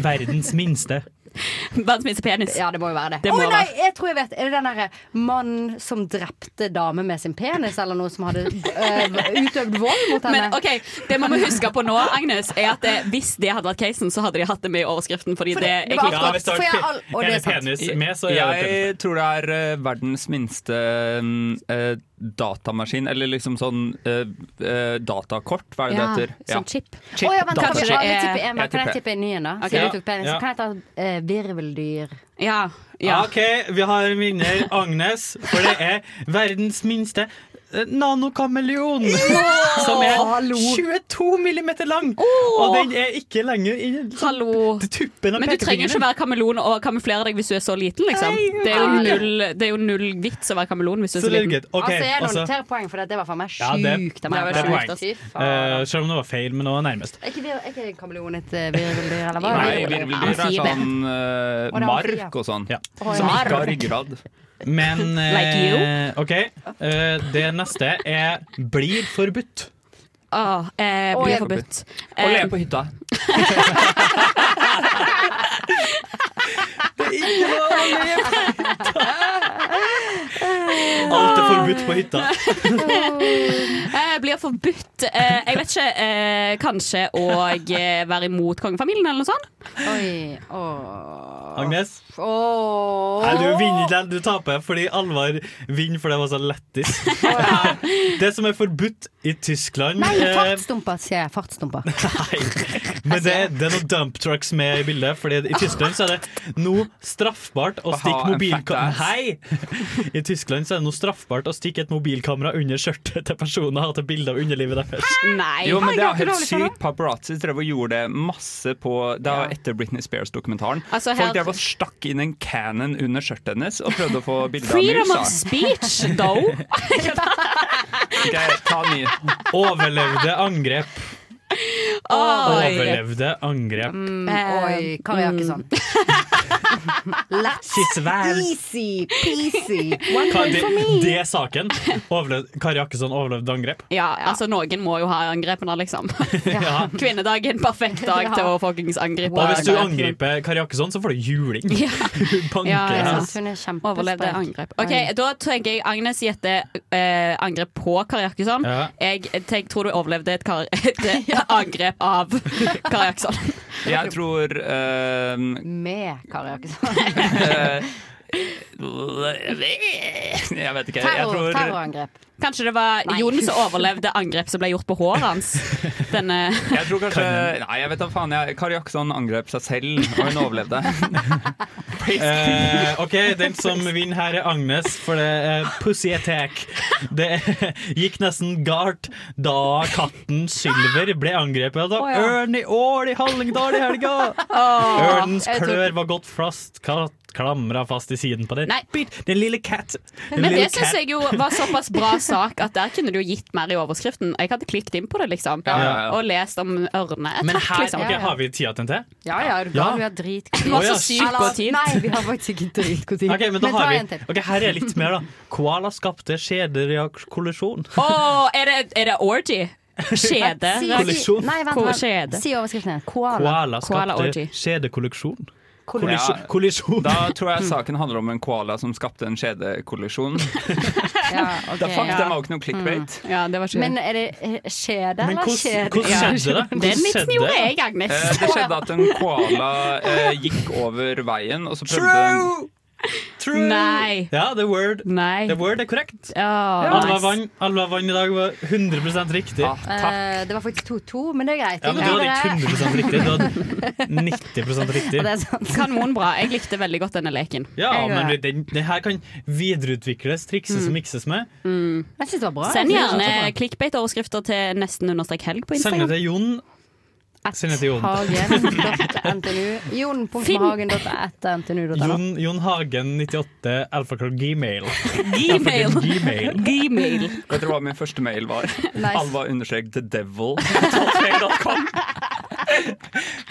S9: verdens minste.
S10: Verdens minste penis.
S8: Ja, det må jo være det.
S9: Det
S8: Å
S9: må
S8: nei,
S9: være.
S8: jeg tror jeg vet. Er det den derre mannen som drepte dame med sin penis, eller noe som hadde øh, utøvd vold mot henne?
S10: Men ok, Det man må huske på nå, Agnes, er at eh, hvis det hadde vært casen, så hadde de hatt det med i overskriften. Fordi
S8: For
S10: det,
S8: det- det
S10: er
S8: var
S10: clickbait.
S8: akkurat- for jeg har all- og det er sant.
S3: Jeg tror det er eh, verdens minste eh, datamaskin, eller liksom sånn eh, eh, datakort, hva er det
S8: Ja,
S3: det heter?
S8: sånn
S10: chip.
S8: Å ja, vent, kan,
S3: Datakort.
S8: vi, alle tippe en,
S3: Jeg
S8: kan jeg
S3: tipper.
S8: tippe en ny en, da?
S9: Ok.
S8: Siden du tok penis.
S9: Ja.
S8: Så kan jeg ta øh, virveldyr.
S10: Ja.
S9: OK, vi har en vinner, Agnes. For det er verdens minste eh, nanokameleon. Som er
S11: hallo.
S9: 22 millimeter lang. Og den er ikke lenger i
S10: Hallo.
S9: tuppen av
S10: Men du trenger ikke
S9: pekefingeren.
S10: være kameleon og kamuflere deg hvis du er så liten, liksom.
S9: Nei.
S10: Det er jo
S9: Nei.
S10: null, det er jo null vits å være kameleon hvis du er
S9: Så
S10: så
S9: det er
S10: liten.
S9: greit. Ok,
S8: altså, jeg
S9: altså-
S8: noterer poeng, for det var for meg sjukt.
S9: Ja, det,
S8: av meg.
S9: det er
S8: Sjukt,
S9: poeng.
S8: ass. Fy faen.
S9: Eh, selv om det var feil, men det var nærmest.
S8: Er ikke, vir- er ikke kameleon et øh, virveldyr, eller hva?
S3: Nei, virveldyr er
S8: Amfibie.
S3: sånn
S8: Å, det
S3: eh,
S8: er amfibie.
S3: mark og sånn.
S8: Å, ja.
S3: Som ikke har ryggrad.
S9: Men eh,
S3: Like you.
S9: OK, eh, det neste er blir forbudt.
S10: Åh, eh,
S9: Å,
S10: blir
S9: jeg-
S10: forbudt.
S9: Å
S10: Eh,
S9: le på hytta.
S11: Ikke noe å le på.
S9: Alt er forbudt på hytta.
S10: Jeg blir forbudt eh, Jeg vet ikke, eh, kanskje å eh, være imot kongefamilien eller noe sånt?
S8: Oi, åh.
S9: Agnes?
S8: Åh.
S9: Nei, du vinner ikke den, du taper, fordi Alvar vinner fordi han var så lettis. Det som er forbudt i Tyskland
S8: Nei,
S9: eh,
S8: fartsdumper, sier jeg. Fartsdumper.
S9: Men det, det er noen dump trucks med i bildet, Fordi i Tyskland så er det nå straffbart å
S3: Å ha
S9: stikke
S3: en
S9: mobilkamera
S3: fat ass.
S9: Hei! I Tyskland så er det nå straffbart å stikke et mobilkamera under skjørtet til personer og ta bilde av underlivet deres.
S10: Nei.
S3: Jo, men Det er
S10: Herregud, hva er
S3: helt
S10: det for noe?
S3: sykt. Paparazzi drev og gjorde det masse på Det var etter Britney Spears-dokumentaren.
S10: Altså, helt-
S3: Folk drev og stakk inn en cannon under skjørtet hennes og prøvde å få bilde av
S10: Freedom
S3: musa.
S10: of speech, though.
S3: Ok, ta ny.
S9: Overlevde angrep.
S8: Oi.
S9: Overlevde angrep.
S8: Mm, Oi, Kari Jakkesson.
S9: Mm.
S8: Let's
S9: Sitt vel.
S8: easy peasy. One
S9: Hva,
S8: point
S9: det,
S8: for me.
S9: det er saken. Overlevde, Kari Jakkesson overlevde angrep.
S10: Ja, altså noen må jo ha angrepene, liksom.
S9: Ja.
S10: Kvinnedagen, perfekt dag til å fuckings angripe.
S9: Og hvis du angriper Kari Jakkesson, så får du juling. Hun banker
S10: Ja,
S9: deg.
S10: ja.
S8: Hun er kjempesprek.
S10: Overlevde angrep. Ok, Da tenker jeg Agnes gjetter eh, angrep på Kari Jakkesson.
S9: Ja.
S10: Jeg eh, tenk- tror du overlevde et, kar et angrep av Kari Jakkesson.
S3: Jeg tror eh,
S8: Med Kari Jakkesson.
S3: eh, Jeg vet ikke. Jeg
S8: Terror,
S3: tror
S8: terrorangrep.
S10: Kanskje det var
S8: Nei.
S10: Jon som overlevde angrep som ble gjort på håret hans. Denne
S3: jeg tror kanskje Nei, jeg vet da faen. Jeg, Kari Jakkesson angrep seg selv, og hun overlevde.
S9: Eh, ok, den som vinner her er Agnes, for det er Pussy Attack. Det gikk nesten galt da katten Sylver ble angrepet av ørn i ål i Hallingdal i helga. Ørnens
S10: jeg tror-
S9: klør var godt fast kat- klamra fast i siden på den.
S10: Nei.
S9: Bit, den lille cat. Den
S10: Men
S9: lille
S10: det syns
S9: cat.
S10: jeg jo var såpass bra sak at der kunne du jo gitt mer i overskriften. Jeg hadde klikket inn på det, liksom.
S9: Ja, ja, ja.
S10: Og lest om ørne.
S9: Men
S10: Takk,
S9: her
S10: liksom.
S9: ok, har vi tida til en til.
S8: Ja ja, er du
S9: Ja.
S8: gal? Vi har dritgod
S10: Vi har så sykt
S8: Eller,
S10: god tid.
S8: Nei, vi har faktisk ikke dritgod tid.
S9: Ok, men da
S8: ta
S9: har vi
S8: en til.
S9: Ok, Her er litt mer, da. Koala skapte skjedereaksjon.
S10: Åh, er, det, er det orgy? Skjede?
S8: Si-
S9: Kollisjon.
S8: Nei, vent,
S10: Ko-
S8: vent.
S10: skjede.
S8: Si overskriften igjen. Koala.
S9: Koala skapte
S10: Koala orgy.
S9: skjedekolleksjon.
S3: Kollisjon.
S9: Kollisjon. kollisjon.
S3: Da tror jeg saken handler om en koala som skapte en skjedekollisjon.
S8: Ja, ok,
S3: Da fuck,
S8: ja. Mm.
S3: den var jo ikke noe clickbait.
S10: Ja, det var ikke
S8: Men er det eh, skjede
S9: Men
S8: eller
S9: hvordan,
S8: skjede?
S9: hvordan
S8: Ja.
S9: skjedde det?
S10: Den
S9: Hvordan
S10: vitsen
S9: skjedde
S10: gjorde
S9: det?
S10: jeg, Agnes.
S3: Eh, det skjedde at en koala eh, gikk over veien, og så prøvde den
S9: True! True!
S10: Nei.
S9: Ja, the word.
S10: Nei.
S9: The word er korrekt.
S10: Ja,
S9: Alva
S10: nice.
S9: vann Alva vann i dag var 100 riktig.
S3: Ah, takk.
S8: Eh, det var faktisk 2-2, men det er greit.
S9: Ja, men Du hadde ikke 100 riktig, du hadde 90 riktig.
S8: Ja, det er sant.
S10: Kanonbra. Jeg likte veldig godt denne leken.
S9: Ja,
S8: Jeg
S9: men
S8: gjør
S9: vi- den, den her kan videreutvikles,
S10: Mm.
S9: trikses og mikses med.
S8: Jeg syns det var bra.
S10: Send gjerne clickbait-overskrifter til nesten understrek helg på
S9: Send det
S10: Instagram.
S9: til Jon. Send det til Jon.
S8: Hagen.ntnu. Jon.hagen.ntnu.no.
S9: Jon, Jon Hagen 98 alfakrøll gmail.
S10: Gmail.
S9: Alfakrøll gmail.
S10: Gmail.
S3: Vet dere hva min første mail var?
S8: Nice.
S3: Alva understrek the devil.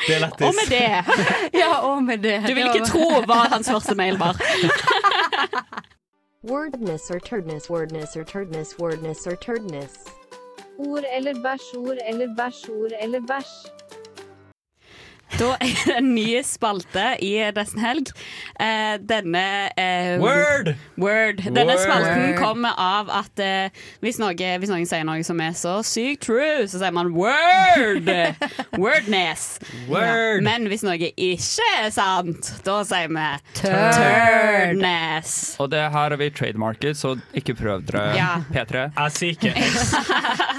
S9: Det er
S10: Og
S9: lættis.
S10: med det
S8: Ja, og med det.
S10: Du vil ikke tro hva hans første mail var.
S12: Wordness or turdness, wordness or turdness, wordness or turdness.
S14: Ord eller bæsj, ord eller bæsj, ord eller bæsj.
S10: Da er det en ny spalte i Nesten helg. Eh, denne eh,
S9: Word!
S10: Word. Denne
S9: Word.
S10: spalten
S8: Word.
S10: kommer av at eh, hvis, noe, hvis noen sier noe som er så sykt true, så sier man word! Wordness.
S9: Word.
S10: Men hvis noe ikke er sant, da sier vi turness.
S3: Og det her har vi trademarket, så ikke prøv dere.
S10: Ja.
S3: P3.
S9: Jeg sier ikke S.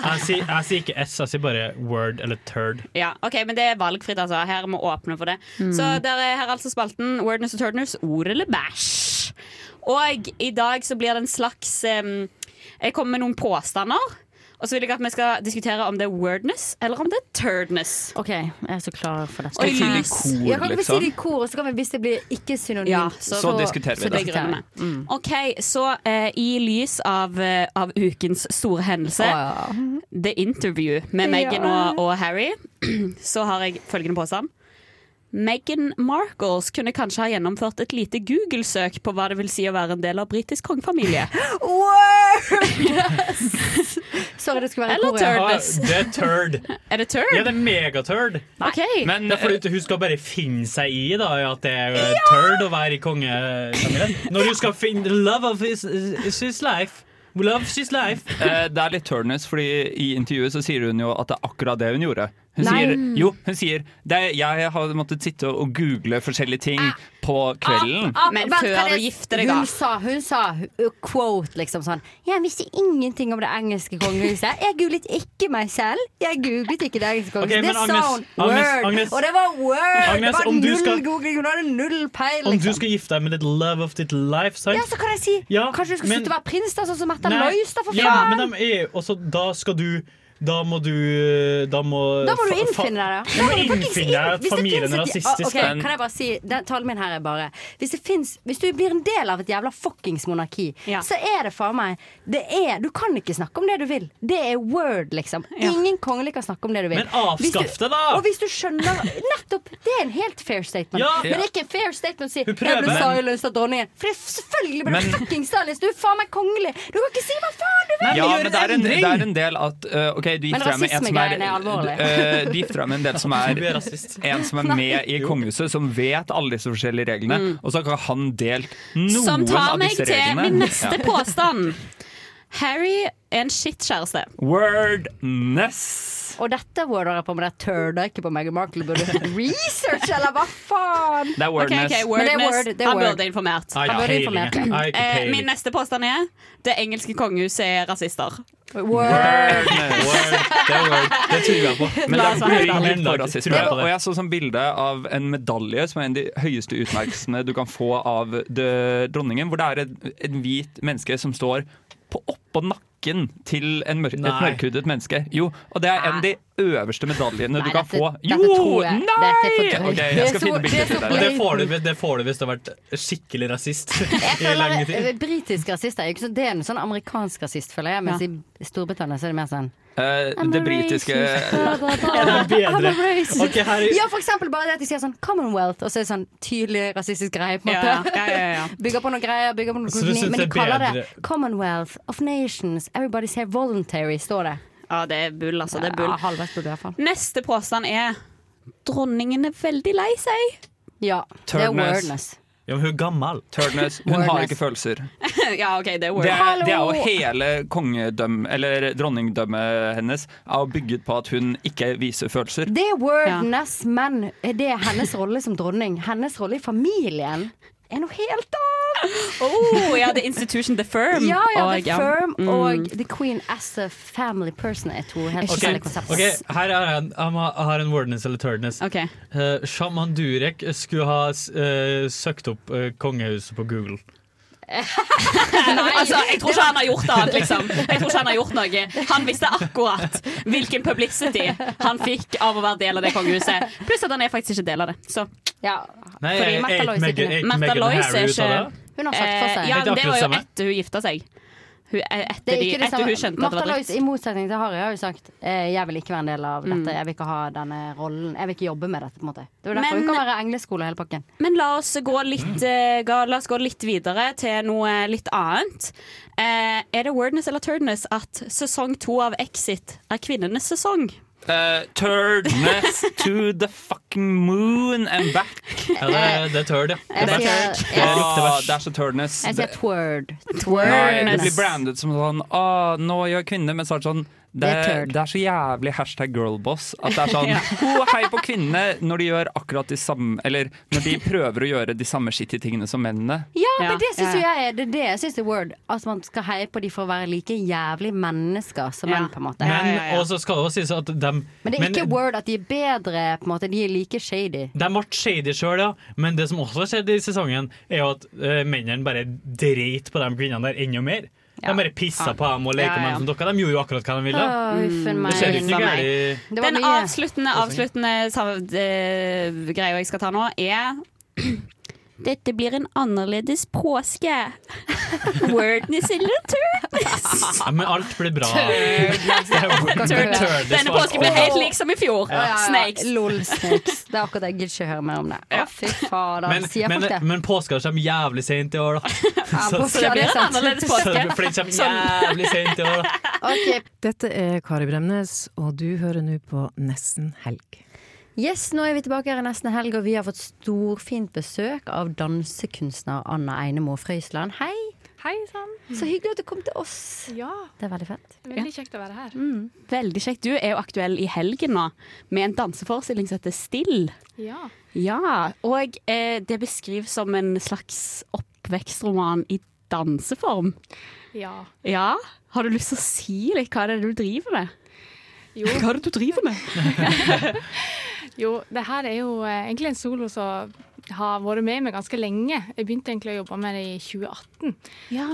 S9: Jeg sier, jeg sier ikke S, jeg sier bare word eller turd.
S10: Ja, ok, Men det er valgfritt, altså. Her må vi åpne for det. Så der er her er altså spalten Wordness og Turdness, ord eller bæsj. Og i dag så blir det en slags em, Jeg kommer med noen påstander. Og så vil jeg at vi skal diskutere om det er wordness eller om det er turdness.
S8: OK, jeg er så klar for dette.
S10: Oi,
S3: Si det i
S10: lys.
S3: kor, liksom.
S8: Ja, kan ikke vi si det i kor, og så kan vi, hvis det blir ikke synonymt
S10: Ja, så-
S3: Mm. Så diskuterer vi
S8: så
S3: det.
S8: diskuterer vi.
S10: OK, så eh, i lys av, eh, av ukens store hendelse,
S8: Å, ja.
S10: The Interview med Meghan og, og Harry, så har jeg følgende påstand. Meghan Markles kunne kanskje ha gjennomført et lite Google-søk på hva det vil si å være en del av britisk kongefamilie.
S8: Sorry, det skulle være
S10: Eller
S8: Korea.
S10: turdness.
S9: Ah, det er turd.
S10: Er det turd?
S9: Ja, det er megaturd.
S10: Ok.
S9: Men det er fordi at hun skal bare finne seg i da, at det er eh, turd å være i kongefamilien. Når hun skal finne the love of his, his life. Love his life.
S3: Eh, det er litt turnus, fordi i intervjuet så sier hun jo at det er akkurat det hun gjorde. Hun
S9: Nei.
S3: sier, jo, hun sier det er, jeg har måttet sitte og google forskjellige ting på kvelden.
S8: Ah,
S10: Men
S8: vent,
S10: før
S8: kan jeg-
S10: du gifter deg, da.
S8: Hun sa, hun sa uh, quote liksom sånn Jeg visste ingenting om det engelske kongehuset. Jeg googlet ikke meg selv. Jeg googlet ikke det engelske
S9: Ok,
S8: kongehuset. det
S9: men
S8: sa
S9: Agnes,
S8: hun.
S9: Agnes,
S8: word.
S9: Agnes.
S8: og det var word! det
S9: Agnes,
S8: var
S9: om du
S8: null
S9: skal-
S8: googling. Hun hadde null peil.
S9: Om du
S8: Liksom.
S9: skal gifte deg med litt love of ditt life, sant?
S8: Ja, så kan jeg si
S9: Ja,
S8: Kanskje du skal
S9: men-
S8: slutte å være prins, da, sånn som Märtha
S9: Nei,
S8: Lois, da, for faen!
S9: ja, men de er, også, da skal du Da må du Da må,
S8: Da må du
S9: fa- fa-
S8: innfinne deg, da.
S9: Du
S8: Da
S9: må
S8: må du fuckings
S9: innfinne deg
S8: inn-
S9: at
S8: Hvis det
S9: familien er
S8: finnes et-
S9: rasistisk.
S8: Ok, kan jeg bare si, den talen min her er bare Hvis det finnes, hvis du blir en del av et jævla fuckings monarki, så er det faen meg det er, Du kan ikke snakke om det du vil. Det er word, liksom. Ingen kongelig kan snakke om det du vil.
S9: Men avskaff
S8: Hvis du-
S9: det, da!
S8: Og hvis du skjønner Nettopp! Det er en helt fair statement.
S9: Ja.
S8: Men det er ikke en fair statement å si
S9: Hun
S8: 'jeg
S9: prøver.
S8: ble silenced av dronningen'. For det er selvfølgelig ble du
S3: Men-
S8: fuckings silenced! Du er faen meg kongelig! Du kan ikke si hva faen du vil!
S3: ja, men det er, en, det er en del at øh, Ok, du
S8: Men
S3: gifter deg med en som er,
S8: rasismegreiene er alvorlig.
S3: øh, Du gifter deg med en del som
S9: Du er
S3: er
S9: rasist.
S3: En som er med i kongehuset, som vet alle disse forskjellige reglene,
S10: Mm.
S3: og så har ikke han delt noen
S10: Som tar
S3: av
S10: meg
S3: disse
S10: til
S3: reglene.
S10: min neste
S3: Ja.
S10: påstand. Harry er en skittkjæreste.
S3: Wordness.
S8: Og dette worder jeg på, men jeg turder ikke på Meghan Markle. Burde research, eller hva faen?
S3: Det er
S8: Men
S10: Ok, ok,
S3: wordness.
S8: det er
S10: wordness.
S8: word, det er
S10: Han
S8: word.
S10: burde informert.
S3: Ah, ja,
S8: Han burde
S3: peiling.
S8: informert.
S3: Jeg har ikke
S10: Eh,
S3: peiling.
S10: Min neste påstand er det engelske kongehuset er rasister.
S3: Word. Det er word. Det tror jeg på. Men
S10: La
S3: det
S10: oss
S3: er
S10: være helt
S3: ingen
S10: ærlige.
S3: grunn for rasisme. Og jeg så sånn bilde av en medalje som er en av de høyeste utmerkelsene du kan få av dø- dronningen, hvor det er et, et hvit menneske som står på oppå nakken til en mør et
S9: Nei.
S3: mørkhudet menneske. Jo, og det er en av de øverste medaljene du
S9: Nei,
S3: kan
S9: dette-
S3: få.
S9: dette
S3: Jo!
S9: tror jeg-
S3: Nei!
S9: dette
S3: Ok, jeg skal finne bildet til
S9: Og det
S3: deg.
S9: får, du, det får du hvis du har vært skikkelig rasist i lang
S8: Føler, eh,
S9: tid.
S8: britisk rasist er jo ikke så det er en sånn amerikansk rasist, føler jeg. Mens i Storbritannia så er det mer sånn
S3: Eh,
S8: I'm
S3: det
S8: a
S3: britiske
S8: racist, bla, bla, bla.
S9: Er det bedre?
S8: I'm a racist.
S9: Ok, her er-
S8: Ja, for eksempel bare det at de sier sånn Commonwealth, og så er det sånn tydelig rasistisk greie, på en
S10: Ja,
S8: måte.
S10: ja, ja, ja.
S8: Bygger på noen greier, bygger på noen
S10: Så du
S8: koloni,
S10: synes
S8: men de
S10: det er
S8: kaller det
S10: bedre?
S8: Commonwealth of Nations. Everybody's here voluntary, står det.
S10: Ja, det er bull, altså. Det er bull.
S8: Ja, halvveis bull, i hvert fall.
S10: Neste påstand er dronningen er veldig lei seg.
S8: Ja,
S3: Turdness.
S9: Ja, men hun er gammel.
S3: Turdness. Hun har ikke følelser.
S10: ja, OK, det er
S3: Det er,
S10: word.
S3: det er jo hele kongedømme, eller dronningdømmet hennes er jo bygget på at hun ikke viser følelser.
S8: Det er wordness, men det er hennes rolle som dronning. Hennes rolle i familien er noe helt annet.
S10: Oh, ja, det er institution, the firm.
S8: Ja, ja,
S10: Mm. Og,
S8: The
S10: ja,
S8: Firm
S10: mm.
S8: og The Queen as a family person er to helt
S9: Ok,
S8: forskjellige konsepter.
S9: ok, her er en, jeg må- jeg har en wordness eller turdness.
S10: Ok.
S9: Eh, Shaman Durek skulle ha eh, søkt opp eh, kongehuset på Google.
S10: Nei, altså, jeg tror ikke han har gjort annet, liksom. Jeg tror ikke han har gjort noe. Han visste akkurat hvilken publicity han fikk av å være del av det kongehuset. Pluss at han er faktisk ikke del av det. Så.
S9: Nei, Fordi jeg- Märtha jeg- Lois er ikke jeg- det. jeg- Meghan og Harry ut av det.
S8: Hun har sagt for seg.
S10: Eh, ja,
S9: Det er
S10: men det var jo
S9: akkurat det
S10: etter hun gifta seg. Hun, eh, etter,
S8: Det er
S10: de,
S8: ikke det
S10: etter hun
S8: samme.
S10: skjønte at det
S8: Martha
S10: var
S8: Lois, i
S10: dritt.
S8: motsetning til Harry, har jo sagt eh, jeg vil ikke være en del av
S10: Mm.
S8: dette. Jeg vil ikke ha denne rollen. Jeg vil ikke jobbe med dette, på en måte. Det er jo derfor
S10: Men-
S8: hun kan være engleskole hele pakken.
S10: Men la oss, gå litt, eh, ga, la oss gå litt videre til noe litt annet. Eh, er det wordness eller turdness at sesong to av Exit er kvinnenes sesong?
S3: Eh, turdness to the fucking moon and back.
S9: Ja, det, det er turd, ja.
S8: Jeg
S3: Det er
S8: sier-
S3: turd.
S8: jeg-
S3: Åh, det er så turdness.
S8: Jeg sier tword.
S3: Nei, det blir
S8: Twordness.
S3: brandet som sånn Å, nå gjør kvinner Men så er det sånn det,
S8: Det er turd.
S3: det er så jævlig hashtag girlboss at det er sånn
S8: Ja.
S3: «Ho, Hei på kvinnene når de gjør akkurat de samme Eller når de prøver å gjøre de samme skittige tingene som mennene.
S8: Ja, men det syns jo jeg er det, er det jeg synes er word. At man skal heie på de for å være like jævlig mennesker som menn, på en måte.
S9: Men og så skal det også sies at de
S8: Men det er ikke word at de er bedre, på en måte. De er like shady.
S9: De ble shady sjøl, ja. Men det som også har skjedd i sesongen, er jo at eh, mennene bare dreit på de kvinnene der enda mer.
S8: Ja.
S9: De bare pissa
S8: Ja.
S9: på dem og
S8: Ja,
S9: leka med
S8: ja.
S9: dem som dere. De gjorde jo akkurat hva de ville.
S8: Å, uffen meg,
S9: Mm. det skjedde ikke
S8: uffen
S9: noe
S8: meg.
S9: gærent. i-
S10: Den avsluttende,
S9: Hva sier du?
S10: avsluttende sam- eh, greia jeg skal ta nå, er Dette blir en annerledes påske. Wordness eller turdness?
S9: Ja, men alt blir bra.
S10: Turdness.
S9: Det er word-
S10: Turdness.
S9: turdness
S10: Denne
S9: var-
S10: påsken ble helt lik som i fjor.
S8: Ja, ja, ja.
S10: Snakes.
S8: Lol, snakes. Det er akkurat det. Jeg gidder ikke høre mer om det. Å, fy fader.
S9: Men,
S8: Sier
S9: men,
S8: folk det?
S9: men påska kommer jævlig sent i år, da. Så-
S8: påska, det blir en annerledes
S9: Så det- For den kommer
S8: Sånn-
S9: jævlig sent i år, da.
S15: Dette er Kari Bremnes, og du hører nå på Nesten helg.
S8: Yes, nå er vi tilbake her i nesten helg, og vi har fått storfint besøk av dansekunstner Anna Einemo Frøysland. Hei!
S16: Hei sann.
S8: Så hyggelig at du kom til oss.
S16: Ja,
S8: Det er veldig fett.
S16: veldig kjekt å være her.
S10: Mm, veldig kjekt. Du er jo aktuell i helgen nå med en danseforestilling som heter Still.
S16: Ja.
S10: Ja, og eh, det beskrives som en slags oppvekstroman i danseform.
S16: Ja.
S10: Ja, har du lyst til å si litt hva det er du driver med?
S16: Jo.
S10: Hva er det du driver med?
S16: Jo, det her er jo eh, egentlig en solo som har vært med meg ganske lenge. Jeg begynte egentlig å jobbe med det i 2018.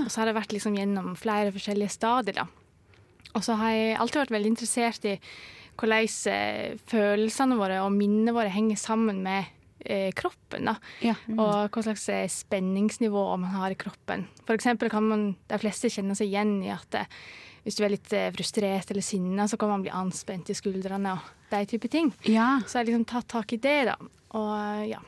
S16: Og så har jeg vært liksom gjennom flere forskjellige stadier, da. Og så har jeg alltid vært veldig interessert i hvordan eh, følelsene våre og minnene våre henger sammen med eh, kroppen. da. Og hva slags eh, spenningsnivå man har i kroppen. For eksempel kan man, de fleste kjenne seg igjen i at eh, hvis du er litt eh, frustrert eller sinna, så kan man bli anspent i skuldrene og de type ting. Så jeg har liksom tatt tak i det, da. Og eh, ja.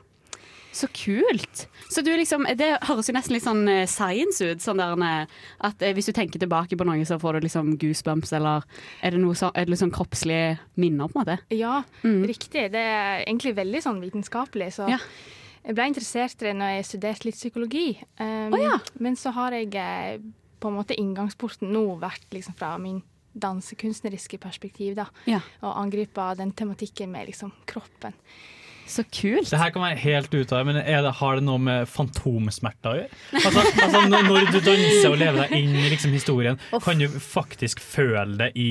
S10: Så kult! Så du liksom, Det høres jo nesten litt sånn eh, science ut. sånn der, eh, at eh, Hvis du tenker tilbake på noe, så får du liksom goosebumps, eller er det noe så, er det litt sånn kroppslige minner? på en måte?
S16: Ja, riktig. Det er egentlig veldig sånn vitenskapelig. Så jeg ble interessert i det når jeg studerte litt psykologi. Um, Men så har jeg eh, på en måte inngangsporten nå vært liksom fra min dansekunstneriske perspektiv, da.
S10: Ja.
S16: Og angripe den tematikken med liksom kroppen.
S10: Så kult.
S9: Det her kan være helt ut av det, men er det, har det noe med fantomsmerter å gjøre? Altså, altså n- Når du danser og lever deg inn i liksom, historien, kan du faktisk føle det i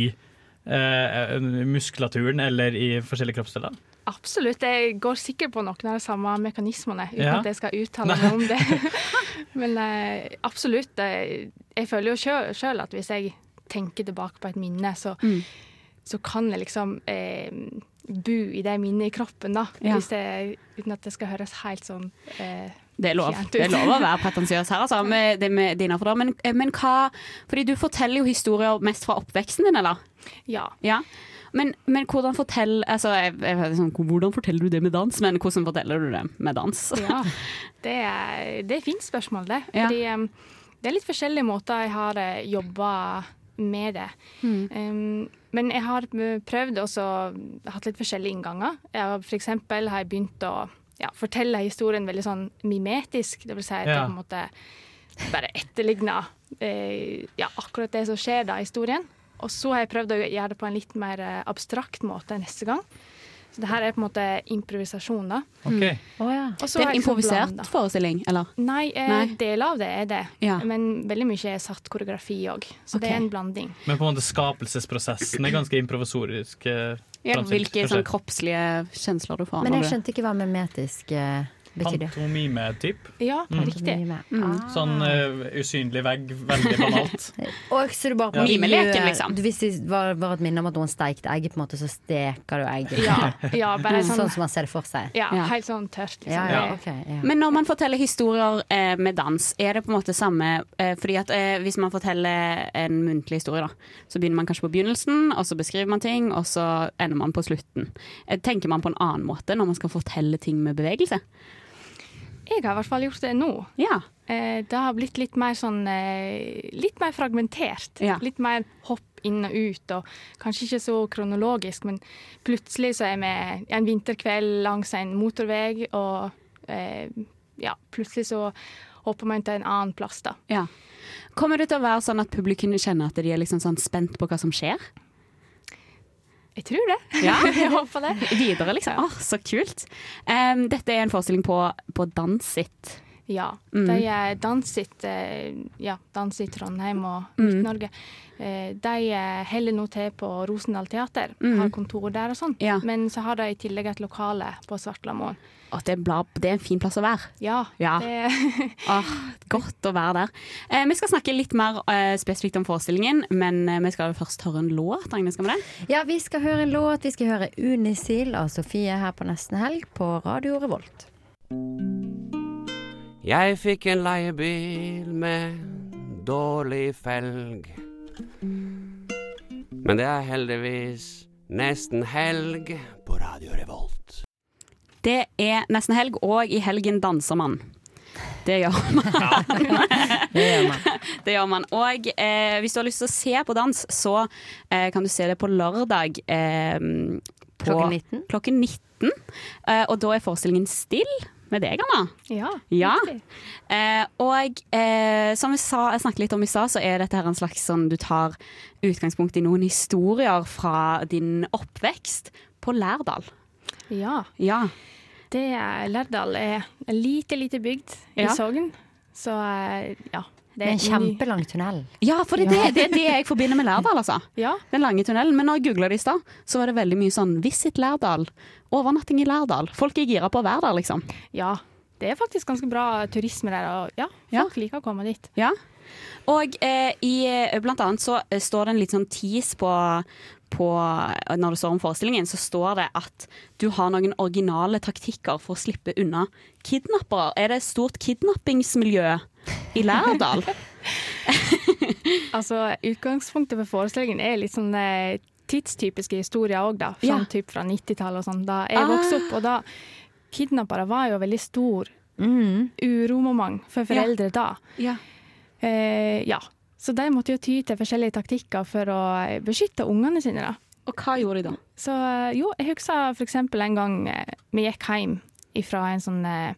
S9: eh, muskulaturen eller i forskjellige kroppsdeler?
S16: Absolutt. Jeg går sikkert på noen av de samme mekanismene, uten
S9: Ja.
S16: at jeg skal uttale meg om det. Men eh, absolutt. eh, jeg føler jo sjøl- sjøl at hvis jeg tenker tilbake på et minne, så,
S10: Mm.
S16: så kan jeg liksom eh, bo i det minnet i kroppen, da.
S10: Ja.
S16: Hvis jeg, uten at det skal høres helt sånn eh,
S10: Det er lov,
S16: fjernt ut.
S10: det er lov å være pretensiøs her, altså. Med, det med det innenfor det. Men, eh, men hva Fordi du forteller jo historier mest fra oppveksten din, eller?
S16: Ja.
S10: Men, men hvordan, fortell, altså, jeg, jeg, vet sånn, hvordan forteller du det med dans? Men hvordan forteller du det med dans?
S16: Ja, det er, det er et fint spørsmål, det.
S10: Ja.
S16: Fordi em, det er litt forskjellige måter jeg har eh, jobba med det.
S10: Mm.
S16: Em, men jeg har eh, prøvd også hatt litt forskjellige innganger. Jeg har, for eksempel har jeg begynt å ja, fortelle historien veldig sånn mimetisk. Det vil si at jeg
S10: Ja.
S16: på en måte bare etterligner eh, ja, akkurat det som skjer da i historien. Og så har jeg prøvd å gjøre det på en litt mer eh, abstrakt måte neste gang. Så det her er på en måte improvisasjon, da.
S10: Ok.
S16: Og så
S10: Det er
S16: har
S10: en
S16: jeg liksom
S10: improvisert
S16: blandet.
S10: forestilling, eller?
S16: Nei, eh,
S10: Nei.
S16: deler av det er det.
S10: Ja.
S16: Men veldig mye er satt koreografi òg. Så det
S10: Ok.
S16: er en blanding.
S9: Men på en måte skapelsesprosessen er ganske improvisorisk. eh,
S10: Ja,
S9: framstilt,
S10: hvilke
S9: kanskje.
S10: sånn, kroppslige kjensler du får?
S8: Men
S10: når
S8: jeg
S10: du-
S8: skjønte ikke hva mimetisk eh, betydde. Ah.
S9: Pantomime-typ.
S16: Ja,
S9: Mm.
S8: riktig.
S10: Ah.
S9: Sånn eh, usynlig vegg, veldig banalt.
S8: Og så du bare på
S9: Ja.
S8: miljø-
S9: Mimeleken, liksom.
S8: du- Hvis det var, var et minne om at noen steikte egg, på en måte, så steker du egg.
S16: Ja, ja, bare
S8: sånn,
S16: sånn-
S8: som man ser det for seg.
S16: Ja, helt sånn tørt, liksom.
S8: Ja, ja, ok, ja.
S10: Men når man forteller historier eh, med dans, er det på en måte samme eh, Fordi at eh, hvis man forteller en muntlig historie, da, så begynner man kanskje på begynnelsen, og så beskriver man ting, og så ender man på slutten. Eh, tenker man på en annen måte når man skal fortelle ting med bevegelse?
S16: Jeg har i hvert fall gjort det nå. Eh, det har blitt litt mer sånn eh, Litt mer fragmentert. Litt mer hopp inn og ut, og kanskje ikke så kronologisk, men plutselig så er vi en vinterkveld langs en motorvei, og eh, ja, plutselig så hopper man til en annen plass, da.
S10: Ja. Kommer det til å være sånn at publikum kjenner at de er liksom sånn spent på hva som skjer?
S16: Jeg tror det.
S10: Ja.
S16: jeg håper det.
S10: Videre, liksom. Åh, så kult. Em, dette er en forestilling på, på Dansit.
S16: Ja.
S10: Mm.
S16: De eh, danset eh, ja, dans i Trondheim og
S10: Mm.
S16: Midt-Norge. Eh, De eh, holder nå til på Rosendal Teater,
S10: Mm.
S16: har kontor der og sånn. Men så har de i tillegg et lokale på Svartlamoen.
S10: Åh, det, er bla, det er en fin plass å være.
S16: Ja.
S10: Ja.
S16: Det,
S10: Åh, godt å være der. Eh, vi skal snakke litt mer eh, spesifikt om forestillingen, men eh, vi skal først høre en låt. Agnes, skal vi det?
S8: Ja, vi skal høre en låt. Vi skal høre Unisil av Sofie her på nesten helg på Radio Revolt.
S17: Jeg fikk en leiebil med dårlig felg. Men det er heldigvis nesten helg på Radio Revolt.
S10: Det er nesten helg, og i helgen danser man. Det gjør man.
S8: Det gjør man.
S10: Det gjør man. Og eh, hvis du har lyst til å se på dans, så eh, kan du se det på lørdag. Eh, på
S8: Klokken 19?
S10: Klokken 19. Eh, og da er forestillingen Still med deg, Anna.
S16: Ja.
S10: Ja. Eh, og eh, som vi sa, jeg snakket litt om i stad, så er dette her en slags sånn du tar utgangspunkt i noen historier fra din oppvekst på Lærdal.
S16: Ja.
S10: Ja.
S16: Det er Lærdal er en lite, lite bygd i
S10: Ja.
S16: Sogn. Så eh, ja.
S8: Det er en kjempelang tunnel.
S10: Ja, for det, er det, det er det jeg forbinder med Lærdal, altså. Den lange tunnelen. Men når jeg googla det i stad, så var det veldig mye sånn 'Visit Lærdal', 'Overnatting i Lærdal'. Folk er gira på å være der, liksom.
S16: Ja. Det er faktisk ganske bra turisme der, og ja, folk liker å komme dit.
S10: Ja. Og eh, i, eh, blant annet så eh, står det en litt sånn tease på, på eh, Når du står om forestillingen, så står det at du har noen originale taktikker for å slippe unna kidnappere. Er det et stort kidnappingsmiljø i Lærdal?
S16: Altså, utgangspunktet for forestillingen er litt sånn eh, tidstypiske historier òg, da. Sånn
S10: Ja.
S16: typ fra 90-tallet og sånn. Da jeg vokste opp, og da Kidnappere var jo veldig stor uromoment for foreldre da.
S10: Ja.
S16: Eh, ja. Så de måtte jo ty til forskjellige taktikker for å eh, beskytte ungene sine, da.
S10: Og hva gjorde de da?
S16: Så eh, jo, jeg husker for eksempel en gang eh, vi gikk hjem fra en sånn eh,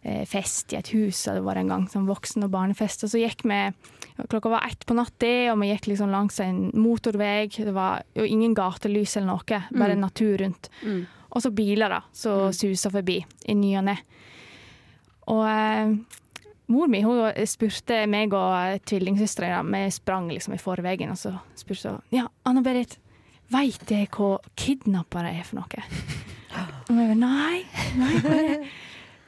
S16: eh, fest i et hus, og det var en gang sånn voksen- og barnefest, og så gikk vi Klokka var ett på natta, og vi gikk liksom langs en motorvei. Det var jo ingen gatelys eller noe, bare
S10: Mm.
S16: natur rundt.
S10: Mm.
S16: Og så biler da, som suser forbi i ny og ne. Og eh, mor mi hun spurte meg og tvillingsøstera Vi sprang liksom i forveien, og så spurte hun Ja, Anna Berit, veit dere hva kidnappere er for noe? Og jeg bare Nei, nei, hva er det?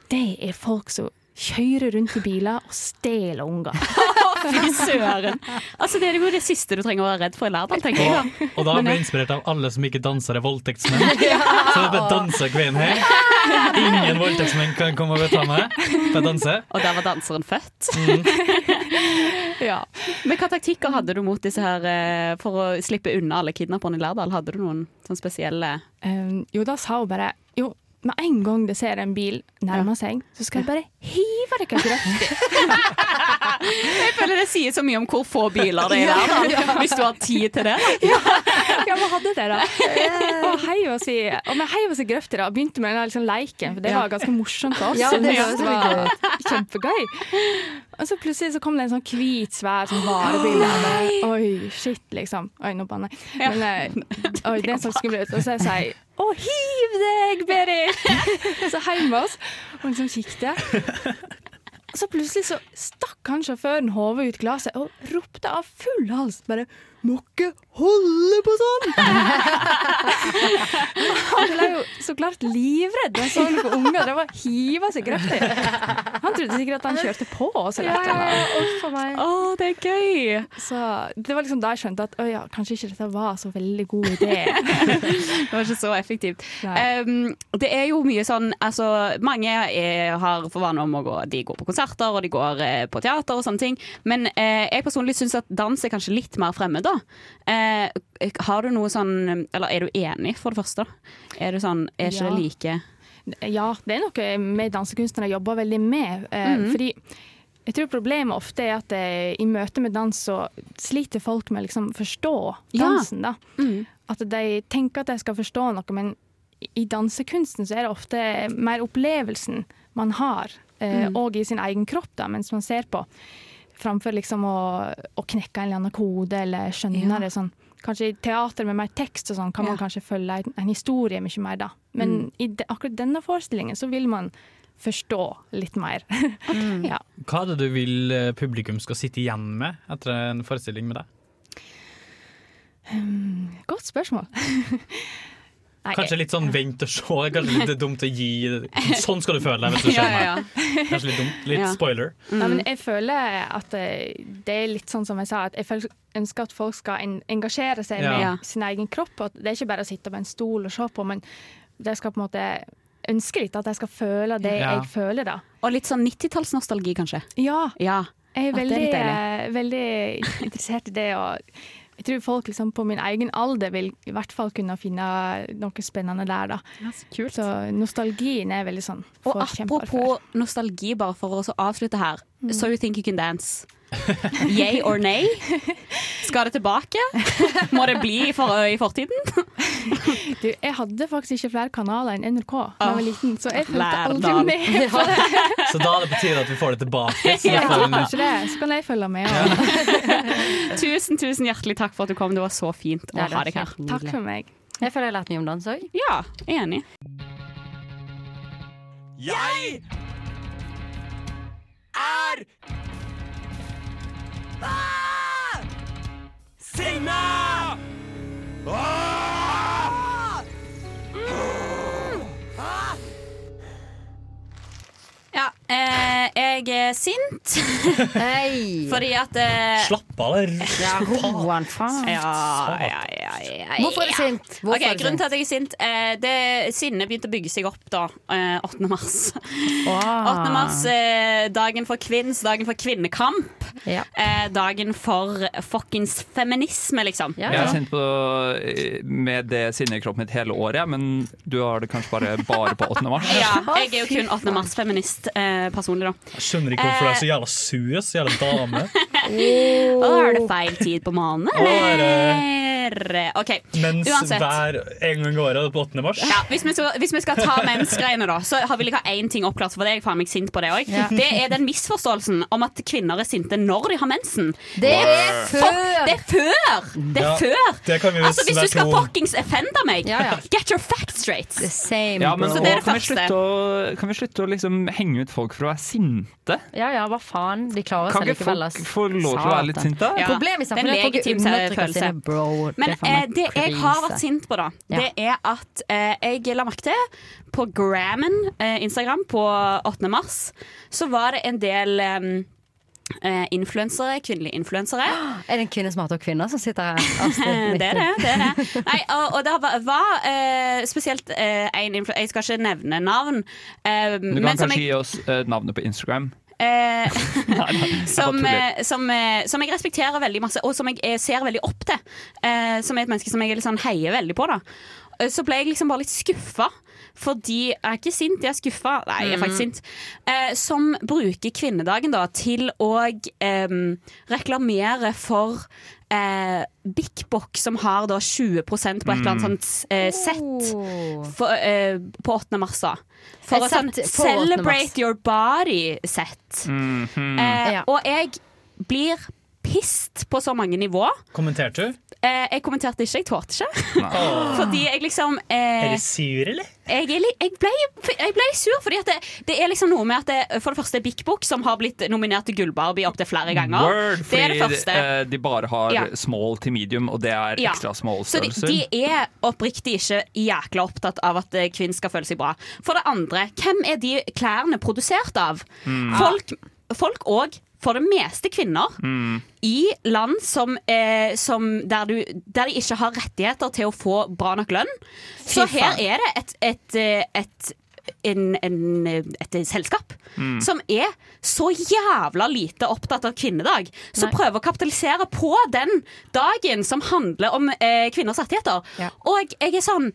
S16: Det er folk som kjører rundt i biler og stjeler unger.
S10: Fy søren. Altså, det er jo det siste du trenger å være redd for i Lærdal, tenker jeg. da.
S9: Og da ble jeg inspirert av alle som ikke danser er voldtektsmenn. Så det danser kvinnen her. Ingen voldtektsmenn kan komme og ta meg, for jeg danser.
S10: Og der var danseren født.
S16: ja.
S10: Men hva taktikker hadde du mot disse her eh, for å slippe unna alle kidnapperne i Lærdal? Hadde du noen sånn spesielle
S16: Um, jo, da sa hun bare Jo, med en gang det ser en bil nærme seg, så skal jeg bare hive dere kraftig.
S10: Jeg føler det sier så mye om hvor få biler det er
S16: Ja,
S10: der, da.
S16: ja.
S10: Hvis du har tid til det.
S16: Ja, vi hadde det, da. Og heiv oss i, og vi heiv oss i grøfta da, og begynte med den der liksom leiken, for det
S10: Ja.
S16: var ganske morsomt for oss.
S10: Ja, det høres
S16: var
S10: veldig
S16: Kjempegøy. Og så plutselig så kom det en sånn hvit, svær sånn varebil. og jeg bare, Oi, shit, liksom. Oi, nå banner jeg. Men eh, oi, det er sånn skummelt. Og så sier jeg å, hiv deg, Berit! Så heiv vi oss, og liksom kikket. Og så plutselig så stakk han sjåføren hodet ut glasset og ropte av full hals bare 'Må ikke holde på sånn!' Han ble jo så klart livredd da han så noen unger drive og hive seg kraftig. Han trodde sikkert at han kjørte på oss. Eller
S10: Ja, ja, ja,
S16: meg.
S10: Å, det er gøy!
S16: Så det var liksom da jeg skjønte at å ja, kanskje ikke dette var så veldig god idé.
S10: Det var ikke så effektivt. Um, det er jo mye sånn altså, Mange er, har for vane om å gå De går på konserter og de går eh, på teater og sånne ting. Men eh, jeg personlig syns at dans er kanskje litt mer fremmed, da. Eh, har du noe sånn Eller er du enig, for det første? Er du sånn Er ikke
S16: Ja.
S10: det like
S16: Ja, det er noe vi dansekunstnere jobber veldig med. Eh,
S10: Mhm.
S16: Fordi jeg tror problemet ofte er at eh, i møte med dans så sliter folk med å liksom forstå
S10: Ja. Mm.
S16: dansen. Da. At de tenker at de skal forstå noe, men i dansekunsten så er det ofte mer opplevelsen man har, eh,
S10: Mhm.
S16: og i sin egen kropp da, mens man ser på. Framfor liksom å, å knekke en eller annen kode eller skjønne det sånn. Kanskje i teater med mer tekst og sånn kan man kanskje følge en, en historie mye mer da. Men
S10: Mm.
S16: i de, akkurat denne forestillingen så vil man forstå litt mer. ja.
S9: Hva er det du vil eh, publikum skal sitte igjen med etter en forestilling med deg?
S16: Hmm, godt spørsmål. Nei,
S9: Kanskje litt sånn vent og se, kanskje litt dumt å gi Sånn skal du føle deg, hvis du skjønner.
S16: Ja, ja, ja.
S9: Kanskje litt dumt. Litt
S16: Ja.
S9: spoiler.
S16: Nei, men jeg føler at eh, det er litt sånn som jeg sa, at jeg føl- ønsker at folk skal en engasjere seg
S9: Ja.
S16: med sin egen kropp. og At det er ikke bare å sitte på en stol og se på, men de skal på en måte ønsker litt at jeg skal føle det
S10: Ja.
S16: jeg føler, da.
S10: Og litt sånn 90-tallsnostalgi, kanskje.
S16: Ja.
S10: ja.
S16: Jeg er
S10: At det er
S16: veldig,
S10: litt
S16: eh, veldig interessert i det. Og jeg tror folk liksom på min egen alder vil i hvert fall kunne finne noe spennende der. Da.
S10: så,
S16: nostalgien er veldig sånn
S10: Og
S16: forkjemper for. Mm.
S10: apropos nostalgi, bare for å så avslutte her. So you think you can dance? Yay or nay? Skal det tilbake? Må det bli for, i fortiden?
S16: Du, jeg hadde faktisk ikke flere kanaler enn NRK da jeg var
S10: Ah,
S16: liten, så jeg fulgte aldri
S9: lærdal.
S16: med på det.
S9: Så da er det på tide at vi får det tilbake. Så
S16: Jeg
S9: derfor-
S16: tror kanskje det. Så kan jeg følge med. og-
S10: Tusen, tusen hjertelig takk for at du kom. Det var så fint å
S16: Ja, det
S10: ha
S16: var
S10: deg her.
S16: helt nydelig. Takk for meg.
S8: Jeg føler jeg har lært mye om dans òg.
S10: Ja, enig.
S11: Jeg er ah! sinna! Ah! Ah!
S10: Ja, eh, jeg er sint. Fordi at eh,
S9: Slapp av, da.
S10: Ja.
S8: Ro han faen.
S10: Ja, ja, ja, ja, ja.
S8: Hvorfor er du sint? Hvorfor
S10: Ok,
S8: er du
S10: grunnen til at jeg er sint eh, det, Sinnet begynte å bygge seg opp da eh, 8. mars.
S8: Ah.
S10: 8. mars, eh, dagen for kvinns, dagen for kvinnekamp.
S8: Ja.
S10: Eh, dagen for fuckings feminisme, liksom.
S3: Jeg har kjent på eh, med det sinnet i kroppen mitt hele året, jeg, men du har det kanskje bare, bare på 8. mars.
S10: Ja, jeg er jo kun 8. mars-feminist eh, personlig, da.
S9: Jeg skjønner ikke hvorfor du er så jævla sur, så jævla dame.
S10: Å, er det feil tid på måneden,
S9: Å, er
S10: eller? OK,
S9: Mens
S10: uansett.
S9: hver en gang i året er det på 8. mars.
S10: Ja, hvis, vi skal, hvis vi skal ta mensgreiene, da, så har vi ikke én ting oppklart. For det er jeg faen meg sint på det òg.
S11: Ja.
S10: Det er den misforståelsen om at kvinner er sinte når de har mensen.
S11: Det er
S10: Fuck, Det er før! Det er
S9: Ja,
S10: før!
S9: det kan vi
S10: altså,
S9: nesten
S10: hvis
S9: være
S10: du skal
S9: to om.
S10: fuckings offende meg, get your facts straight!
S3: Ja, men
S10: så det er det
S3: og kan, vi
S10: første.
S3: slutte å, kan vi slutte å liksom henge ut folk for å være sinte?
S8: Ja ja, hva faen. De klarer
S3: Kan
S8: seg
S3: ikke
S8: likevel.
S3: folk
S8: ass.
S3: få lov til å være litt
S8: Satan.
S3: sinte?
S10: Ja.
S8: Problemet i samfunnet er
S10: Det er
S8: at
S10: en
S8: folk
S10: legitim
S8: undertrykker
S10: følelse.
S8: sine bro.
S10: Men
S8: er faen meg
S10: eh, det jeg har
S8: krise.
S10: vært sint på, da,
S8: Ja.
S10: det er at eh, jeg la merke til på Grammen, eh, Instagram, på 8. mars, så var det en del eh, eh, influensere, kvinnelige influensere. Eh,
S8: Er det en kvinne som hater kvinner som sitter her? Astrid,
S10: det er det. det, er det. Nei, og, og det var, var eh, spesielt eh, en influ... Jeg skal ikke nevne navn. eh,
S3: Du
S10: men
S3: kan
S10: som
S3: kanskje
S10: jeg,
S3: gi oss eh, navnet på Instagram.
S10: eh, som,
S3: tuller.
S10: eh, som, eh, som jeg respekterer veldig masse, og som jeg eh, ser veldig opp til. eh, som er et menneske som jeg er litt sånn heier veldig på. da Eh, Så ble jeg liksom bare litt skuffa. Fordi Jeg er ikke sint, jeg er skuffa. Nei, jeg er faktisk
S11: Mm.
S10: sint. Eh, som bruker kvinnedagen da til å eh, reklamere for eh, Big Box, som har da 20 på et eller
S11: Mm.
S10: annet sånt eh,
S8: Oh.
S3: Oh.
S10: sett for, eh, på 8. mars. da For
S8: Et
S10: et sånn
S8: sett på 8. mars.
S10: Celebrate your body-sett.
S3: Mhm.
S10: Eh, Og jeg blir pissed på så mange nivå.
S9: Kommenterte du?
S10: Eh, jeg kommenterte ikke, jeg tålte ikke.
S9: Nei. Åh.
S10: Fordi jeg liksom eh,
S9: Er du sur, eller?
S10: jeg, er li- jeg, ble, jeg ble sur, fordi at det, det er liksom noe med at det, for det første er Big Book, som har blitt nominert til Gullbarbie opptil flere ganger.
S3: Word,
S10: det
S3: fordi
S10: er det første.
S3: eh, de bare har
S10: Ja.
S3: small til medium, og det er
S10: Ja.
S3: ekstra small
S10: Så de,
S3: størrelser.
S10: de er oppriktig ikke jækla opptatt av at eh, kvinner skal føle seg bra. For det andre, hvem er de klærne produsert av?
S11: Mm.
S10: Folk, folk og for det meste kvinner
S11: Mm.
S10: i land som, eh, som der, du, der de ikke har rettigheter til å få bra nok lønn.
S11: Fy
S10: Så her
S11: faen.
S10: er det et, et, eh, et en, en, et selskap
S11: Mm.
S10: som er så jævla lite opptatt av kvinnedag, som
S11: Nei.
S10: prøver å kapitalisere på den dagen som handler om eh, kvinners rettigheter. Og jeg er sånn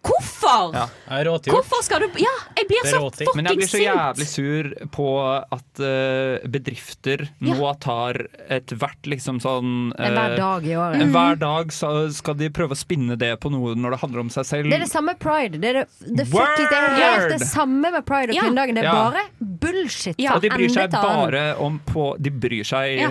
S10: Hvorfor?
S3: Ja.
S9: Jeg er råtgjort.
S10: Hvorfor skal du Ja, jeg blir så
S3: Men jeg blir
S10: fuckings
S3: så
S10: sint!
S3: jævlig sur på at eh, bedrifter nå tar ethvert liksom sånn
S8: En hver
S3: eh,
S8: dag i året.
S3: en
S10: Mm.
S3: Hver dag så skal de prøve å spinne det på noe når det handler om seg selv.
S8: Det er det samme med pride. Det er det, det,
S3: Word!
S8: fucking, det, er helt det samme med pride og
S3: Ja.
S8: kvinnedagen. Det er
S3: Ja.
S8: bare bullshit.
S3: Og de
S8: fra
S3: bryr
S8: ende
S3: seg
S8: til annen.
S3: bare om på De bryr seg,
S8: Ja.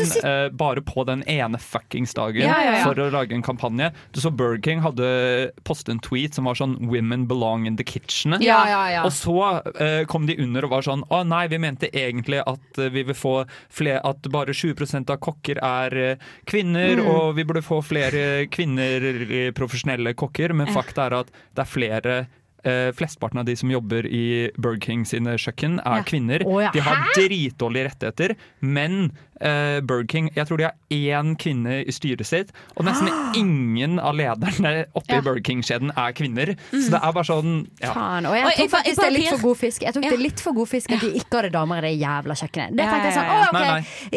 S8: Og så sit-
S3: eh, bare på den ene fuckings dagen
S8: Ja, ja, ja.
S3: for å lage en kampanje. Du så Burger King hadde postet en tweet som var sånn 'Women belong in the kitchen'.
S11: Ja, ja, ja.
S3: Og så eh, kom de under og var sånn 'Å nei, vi mente egentlig at eh, vi vil få flere At bare 20 av kokker er eh, kvinner,
S11: Mm.
S3: og vi burde få flere kvinner eh, profesjonelle kokker', men
S11: Ja.
S3: fakta er at det er flere eh, flesteparten av de som jobber i Burger King sine kjøkken, er
S11: Ja.
S3: kvinner.
S11: Å ja.
S3: De har
S11: Hæ?
S3: dritdårlige rettigheter, men eh, Burger King Jeg tror de har én kvinne i styret sitt, og nesten
S11: Ah.
S3: ingen av lederne oppe
S8: Ja.
S3: i Burger King-kjeden er kvinner.
S8: Mm.
S3: Så det er bare sånn ja.
S8: Faen. Og jeg tok faktisk det er litt for god fisk Jeg tok det litt for god fisk at de ikke hadde damer i det jævla kjøkkenet. Det
S3: Ja,
S8: tenkte jeg sånn,
S3: ja, ja.
S8: «Å, ok,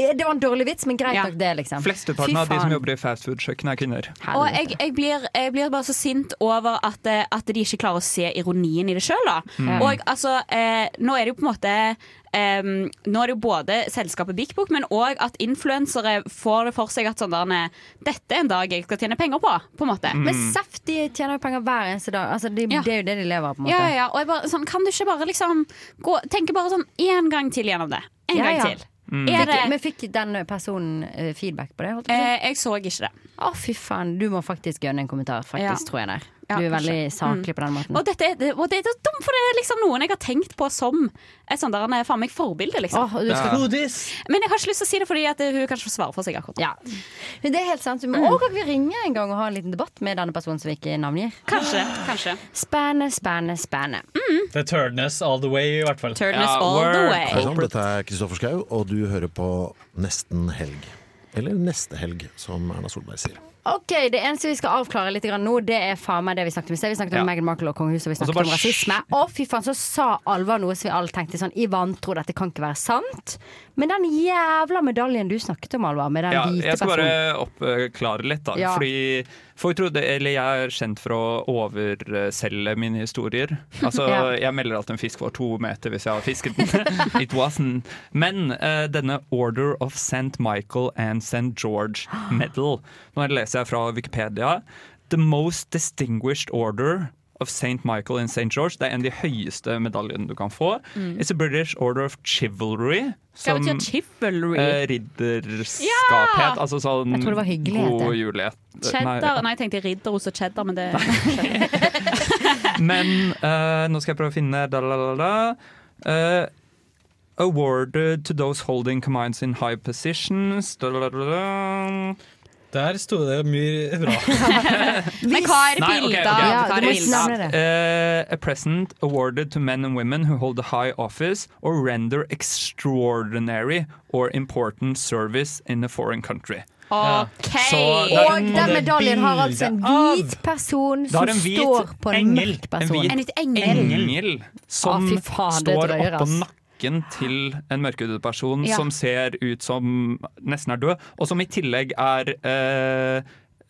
S3: Nei,
S8: Det var en dårlig vits, men greit nok det, liksom.
S3: Flesteparten
S8: Fy
S3: av de som
S8: faen.
S3: jobber i fastfood-kjøkken, er kvinner.
S10: Og jeg, jeg, blir, jeg blir bare så sint over at, eh, at de ikke klarer å se ironien i det sjøl.
S3: Mm.
S10: Og altså, eh, nå er det jo på en måte eh, Nå er det jo både selskapet Big Book, men òg at influensere får det for seg at sånn der, nei, dette er en dag jeg skal tjene penger på. på en måte.
S8: Men Seff de tjener jo penger hver eneste dag. Altså, de, Det er jo det de lever av. på en måte
S10: Ja, ja, og jeg bare, sånn, Kan du ikke bare liksom gå, tenke bare sånn én gang til gjennom det? En
S8: Ja,
S10: gang
S8: ja.
S10: til.
S8: Mm.
S10: Er det,
S8: Fikk, men fikk den personen eh, feedback på det? holdt jeg på å si?
S10: eh, jeg så ikke det.
S8: Å, fy faen. Du må faktisk gønne en kommentar, faktisk,
S10: Ja.
S8: tror jeg der.
S10: Ja,
S8: Du er veldig
S10: kanskje.
S8: saklig på den måten.
S10: Og, dette, er- og det er så dumt, for det er liksom noen jeg har tenkt på som et sånn der, faen meg forbilde, liksom.
S8: Åh, du skal- Ja.
S10: Men jeg har ikke lyst til å si det, fordi at hun kanskje får svare for seg akkurat nå.
S8: Men det er helt sant. Vi må
S10: Mm.
S8: også kan vi ringe en gang og ha en liten debatt med denne personen som vi ikke navngir.
S10: Kanskje. kanskje.
S8: Spennende, spennende, spennende.
S9: Det er turdness all the way, i hvert fall.
S8: Turdness Ja, all the word. way.
S18: Hei sann, dette er Kristoffer Schau, og du hører på Nesten helg. Eller Neste helg, som Erna Solberg sier.
S8: Ok, Det eneste vi skal avklare litt grann nå, det er faen meg det vi snakket om i sted. Vi snakket om
S18: Ja.
S8: Meghan Markle og kongehuset, og vi
S18: Og så
S8: snakket
S18: bare
S8: om rasisme. Å, fy faen, så sa Alva noe som vi alle tenkte sånn i vantro, dette kan ikke være sant. Men den jævla medaljen du snakket om, Alva, med den
S3: Ja,
S8: hvite
S3: jeg skal
S8: personen
S3: bare oppklare litt, da.
S8: Ja.
S3: Fordi folk trodde, eller jeg er kjent for å overselge mine historier. Altså,
S8: Ja.
S3: Jeg melder at en fisk var to meter hvis jeg har fisket den. It wasn't. Men eh, denne Order of St. Michael and St. George Medal, nå leser jeg fra Wikipedia. The most distinguished order of St. Michael and St. George. Det er en av de høyeste medaljene du kan få.
S10: Mm.
S3: It's a British Order of Chivalry.
S10: Hva betyr
S3: som-
S10: chivalry?
S3: Eh, ridderskaphet.
S10: Ja!
S3: Altså sånn
S10: Jeg tror det var hyggelighet,
S3: god
S10: det.
S3: julighet.
S10: Cheddar? Nei, jeg tenkte ridderost og cheddar, men det
S3: Men eh, nå skal jeg prøve å finne da, da, da, da. Eh, awarded to those holding commands in high positions da, da, da, da.
S9: Der sto det mye bra.
S10: Men hva er
S3: Nei, ok,
S10: bildet?
S3: ok.
S10: Hva er bildet?
S3: Eh, a present awarded to men and women who hold a high office or render extraordinary or important service in a foreign country.
S8: Ok.
S3: Så det er-
S8: Og den medaljen har altså en hvit person
S3: Det har
S8: som
S3: en hvit
S8: står på en
S3: engel.
S8: mørk person.
S3: En hvit engel som
S8: Å, fy faen, det
S3: står
S8: drøyer,
S3: oppå
S8: ass.
S3: nakken til en mørkhudet person
S8: Ja.
S3: som ser ut som nesten er død, og som i tillegg er eh,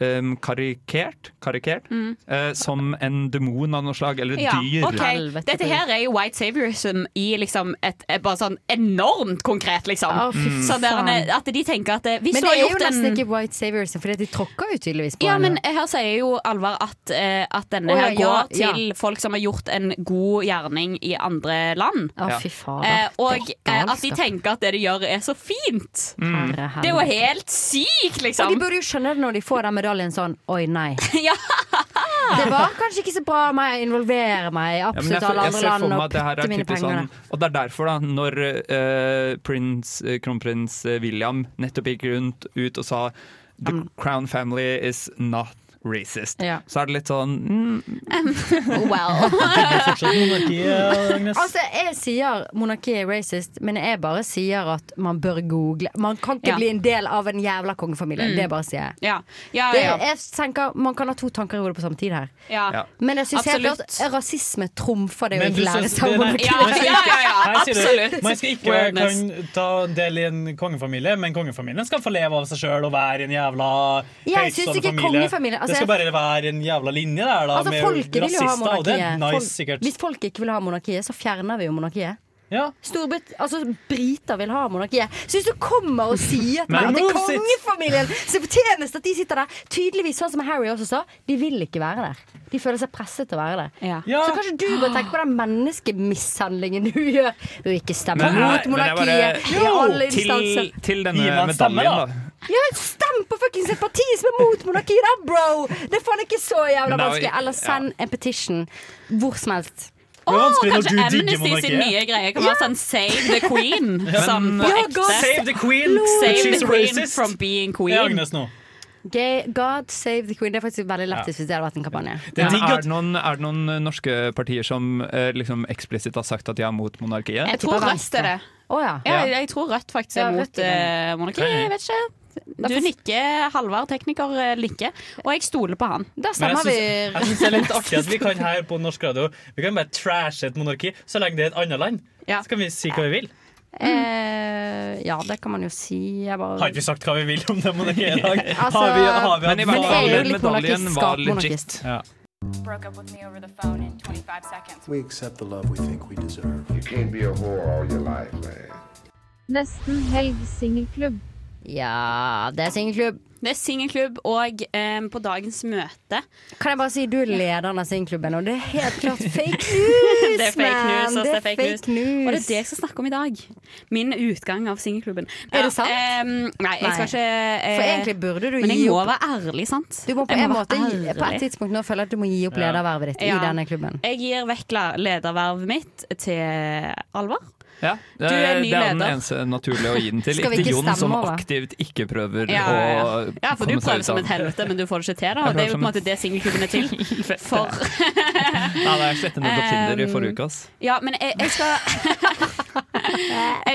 S3: em, karikert, karikert
S10: Mm.
S3: eh, som en demon av noe slag, eller et
S10: Ja,
S3: dyr.
S10: ok. Dette her er jo white saviorism i liksom et, et bare sånn enormt konkret, liksom.
S8: Å, fy
S10: Mm. Så der,
S8: faen.
S10: at de tenker at eh, hvis
S8: Men det
S10: du har
S8: er jo
S10: gjort en
S8: nesten ikke White Saviors, for de tråkker jo tydeligvis på
S10: Ja, men
S8: henne.
S10: her sier jo Alvar at, eh, at denne
S8: Å, ja,
S10: her går
S8: ja, ja.
S10: til folk som har gjort en god gjerning i andre land.
S8: Å, fy faen.
S10: Eh, og
S8: Det er
S10: eh, at de
S8: galskap.
S10: tenker at det de gjør er så fint.
S8: Mm. Herre,
S10: Det er jo
S8: helvete.
S10: helt sykt, liksom.
S8: Og de burde jo skjønne det når de får den medaljen sånn Oi, nei.
S10: Ja.
S8: Det var kanskje ikke så bra av meg å involvere meg i
S3: Ja, men jeg,
S8: absolutt
S3: ser-
S8: alle
S3: jeg
S8: andre
S3: ser for
S8: land
S3: meg
S8: og
S3: at det her
S8: putte
S3: er
S8: mine
S3: typisk
S8: penger der.
S3: sånn Og det er derfor, da, når eh, prins, eh, kronprins eh, William nettopp gikk rundt ut og sa The crown family is not racist,
S8: Ja.
S3: så er det litt sånn mm,
S8: Altså, jeg sier monarkiet er racist, men jeg bare sier at man bør google. Man kan ikke
S10: Ja.
S8: bli en del av en jævla kongefamilie.
S10: Mm.
S8: Det bare sier jeg.
S10: Ja. Ja,
S8: Det,
S10: ja, ja.
S8: jeg tenker, Man kan ha to tanker i hodet på samme tid her.
S10: Ja.
S8: Men jeg syns helt
S10: Absolutt.
S8: klart rasisme trumfer det å
S9: Men du
S8: ikke lære
S9: syns-
S8: seg om
S9: nei,
S8: monarkiet.
S9: man skal ikke- Nei, sier du,
S10: absolutt.
S9: Man skal ikke
S10: Weirdness.
S9: kan ta del i en kongefamilie, men kongefamilien skal få leve av seg sjøl og være en jævla
S8: Jeg
S9: høytstående
S8: synes ikke kongefamilie- altså,
S9: det skal bare være en jævla linje der, da,
S8: Altså, folket
S9: med
S8: vil jo ha
S9: rasister, og det er
S8: monarkiet.
S9: nice,
S8: Folk,
S9: sikkert.
S8: hvis folk ikke vil ha monarkiet, så fjerner vi jo monarkiet.
S9: Ja.
S8: Storbrit altså, briter vil ha monarkiet. Så hvis du kommer og sier til meg at det
S11: Men
S8: er
S11: move it!
S8: kongefamilien som fortjenes at de sitter der Tydeligvis, sånn som Harry også sa, de vil ikke være der. De føler seg presset til å være der.
S11: Ja.
S8: Så kanskje du bør tenke på den menneskemishandlingen du gjør ved å ikke stemme
S3: Men-
S8: mot
S3: men jeg bare-
S8: monarkiet i alle
S3: til,
S8: instanser.
S3: til
S9: Gi
S3: denne
S9: meg en stemme,
S3: medaljen, da.
S8: Ja, stem på fuckings et parti som er mot monarkiet, da, bro! Det er faen ikke så jævla
S3: Men det er jo-
S8: vanskelig. Eller send en petition hvor som helst.
S10: Å,
S9: vanskelig når
S10: kanskje
S9: du digger
S10: Amnesty sin
S9: monarkiet.
S10: nye greie kan være sånn Save the Queen.
S9: Ja, men-
S10: sånn på
S9: Ja,
S10: ekte.
S9: God save the queen, but
S10: Save
S9: she's
S10: the queen
S9: racist.
S10: from being
S9: Det er
S10: queen.
S9: Agnes nå.
S8: Gay, God save the queen. Det er faktisk veldig lettest hvis det hadde vært en kampanje.
S3: Men er, det noen, er det eh, noen norske partier som eh, liksom eksplisitt har sagt at de er mot monarkiet?
S8: Jeg tror Rødt er det. Å ja.
S10: Ja, jeg- jeg tror Rødt faktisk
S8: Ja,
S10: er
S8: Rødt
S10: mot
S8: er
S10: eh,
S8: det.
S10: monarki.
S8: Hei, hei.
S10: Jeg vet ikke. Du nikker, Halvard tekniker eh, nikker, og jeg stoler på han. Da
S9: Men jeg syns- Jeg syns det er litt artig at vi kan her på norsk radio Vi kan bare trashe et monarki så lenge det er et annet land. Så kan vi si hva vi vil.
S8: Eh, ja, det kan man jo si. Jeg bare
S9: Har ikke vi sagt hva vi vil om det monarkiet i dag?
S8: Altså,
S9: har vi, har vi
S8: Men i hvert fall, Men det er jo litt
S9: medaljen
S8: monarkist,
S9: var
S8: skap
S9: legit.
S8: monarkist.
S9: Ja.
S19: Broke up with me over the phone in 25 seconds.
S20: We accept the love we think we deserve. You can't be a whore all your life, man.
S14: Nesten helg singelklubb.
S8: Ja, det er singelklubb.
S10: Det er singelklubb, og eh, på dagens møte
S8: Kan jeg bare si du er lederen av singelklubben, og det er helt klart fake news!
S10: Det er fake news,
S8: man.
S10: ass, det er fake news. Og det er det
S8: news.
S10: jeg skal snakke om i dag. Min utgang av singelklubben.
S8: Er det
S10: Ja,
S8: sant?
S10: ehm, nei, jeg skal
S8: Nei.
S10: ikke eh,
S8: For egentlig burde du
S10: Men jeg
S8: gi
S10: må
S8: opp.
S10: være ærlig, sant?
S8: Du må på
S10: Jeg
S8: en
S10: må
S8: måte
S10: være
S8: på et
S10: ærlig.
S8: tidspunkt nå føle at du må gi opp
S10: Ja.
S8: ledervervet ditt i
S10: Ja.
S8: denne klubben.
S10: Jeg gir vekk la- ledervervet mitt til Alvar.
S3: Ja,
S10: Du
S3: det,
S10: er
S3: er
S10: ny
S3: det er den
S10: leder.
S3: eneste naturlige å gi den til.
S10: Skal vi
S3: Ikke
S10: ikke
S3: Jon, som
S10: stemme over?
S3: aktivt ikke prøver
S10: Ja, ja, ja.
S3: å
S10: ja, for du
S3: komme seg
S10: prøver
S3: ut
S10: som
S3: av
S10: et helvete, men du får det ikke til. Da.
S3: sånn? Jeg
S10: Det er jo på en
S3: prøver
S10: måte det singelklubben er til. For
S3: Nei, nei, jeg slettet ned på
S10: Um,
S3: Tinder i forrige uke, ass.
S10: Ja, men jeg, jeg skal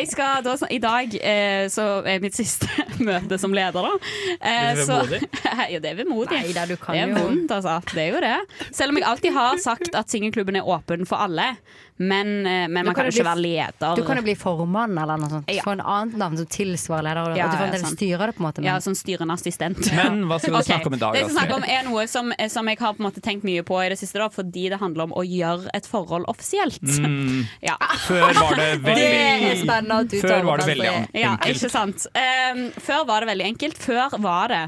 S10: Jeg skal da sn- I dag eh, så er mitt siste møte som leder, da. Eh,
S8: Litt
S10: så-
S8: vemodig?
S10: ja, det er vemodig.
S8: Neida, du kan
S10: det er
S8: jo-
S10: vondt, altså. Det er jo det. Selv om jeg alltid har sagt at singelklubben er åpen for alle, men, eh, men
S8: Du
S10: man kan
S8: jo
S10: jo
S8: bli-
S10: ikke være leder.
S8: Du kan jo bli formann eller noe sånt. Få en annet navn som tilsvarer leder.
S10: Ja,
S8: at du
S10: ja,
S8: fremdeles
S10: sant.
S8: styrer det, på en måte.
S10: Ja, som styrende assistent.
S3: Men hva skal vi
S10: Ok,
S3: snakke om i dag,
S10: Det jeg skal snakke om
S3: Astrid?
S10: er noe som, eh, som jeg har på en måte tenkt mye på i det siste, da, fordi det handler om å gjøre et forhold offisielt.
S3: Mm.
S10: Ja.
S3: Før var det veldig
S10: Det er spennende at du tar
S3: Før
S10: opp
S3: var det
S10: den,
S3: veldig
S10: Astrid. Ja,
S3: enkelt.
S10: ikke sant. Ehm, før var det veldig enkelt. Før var det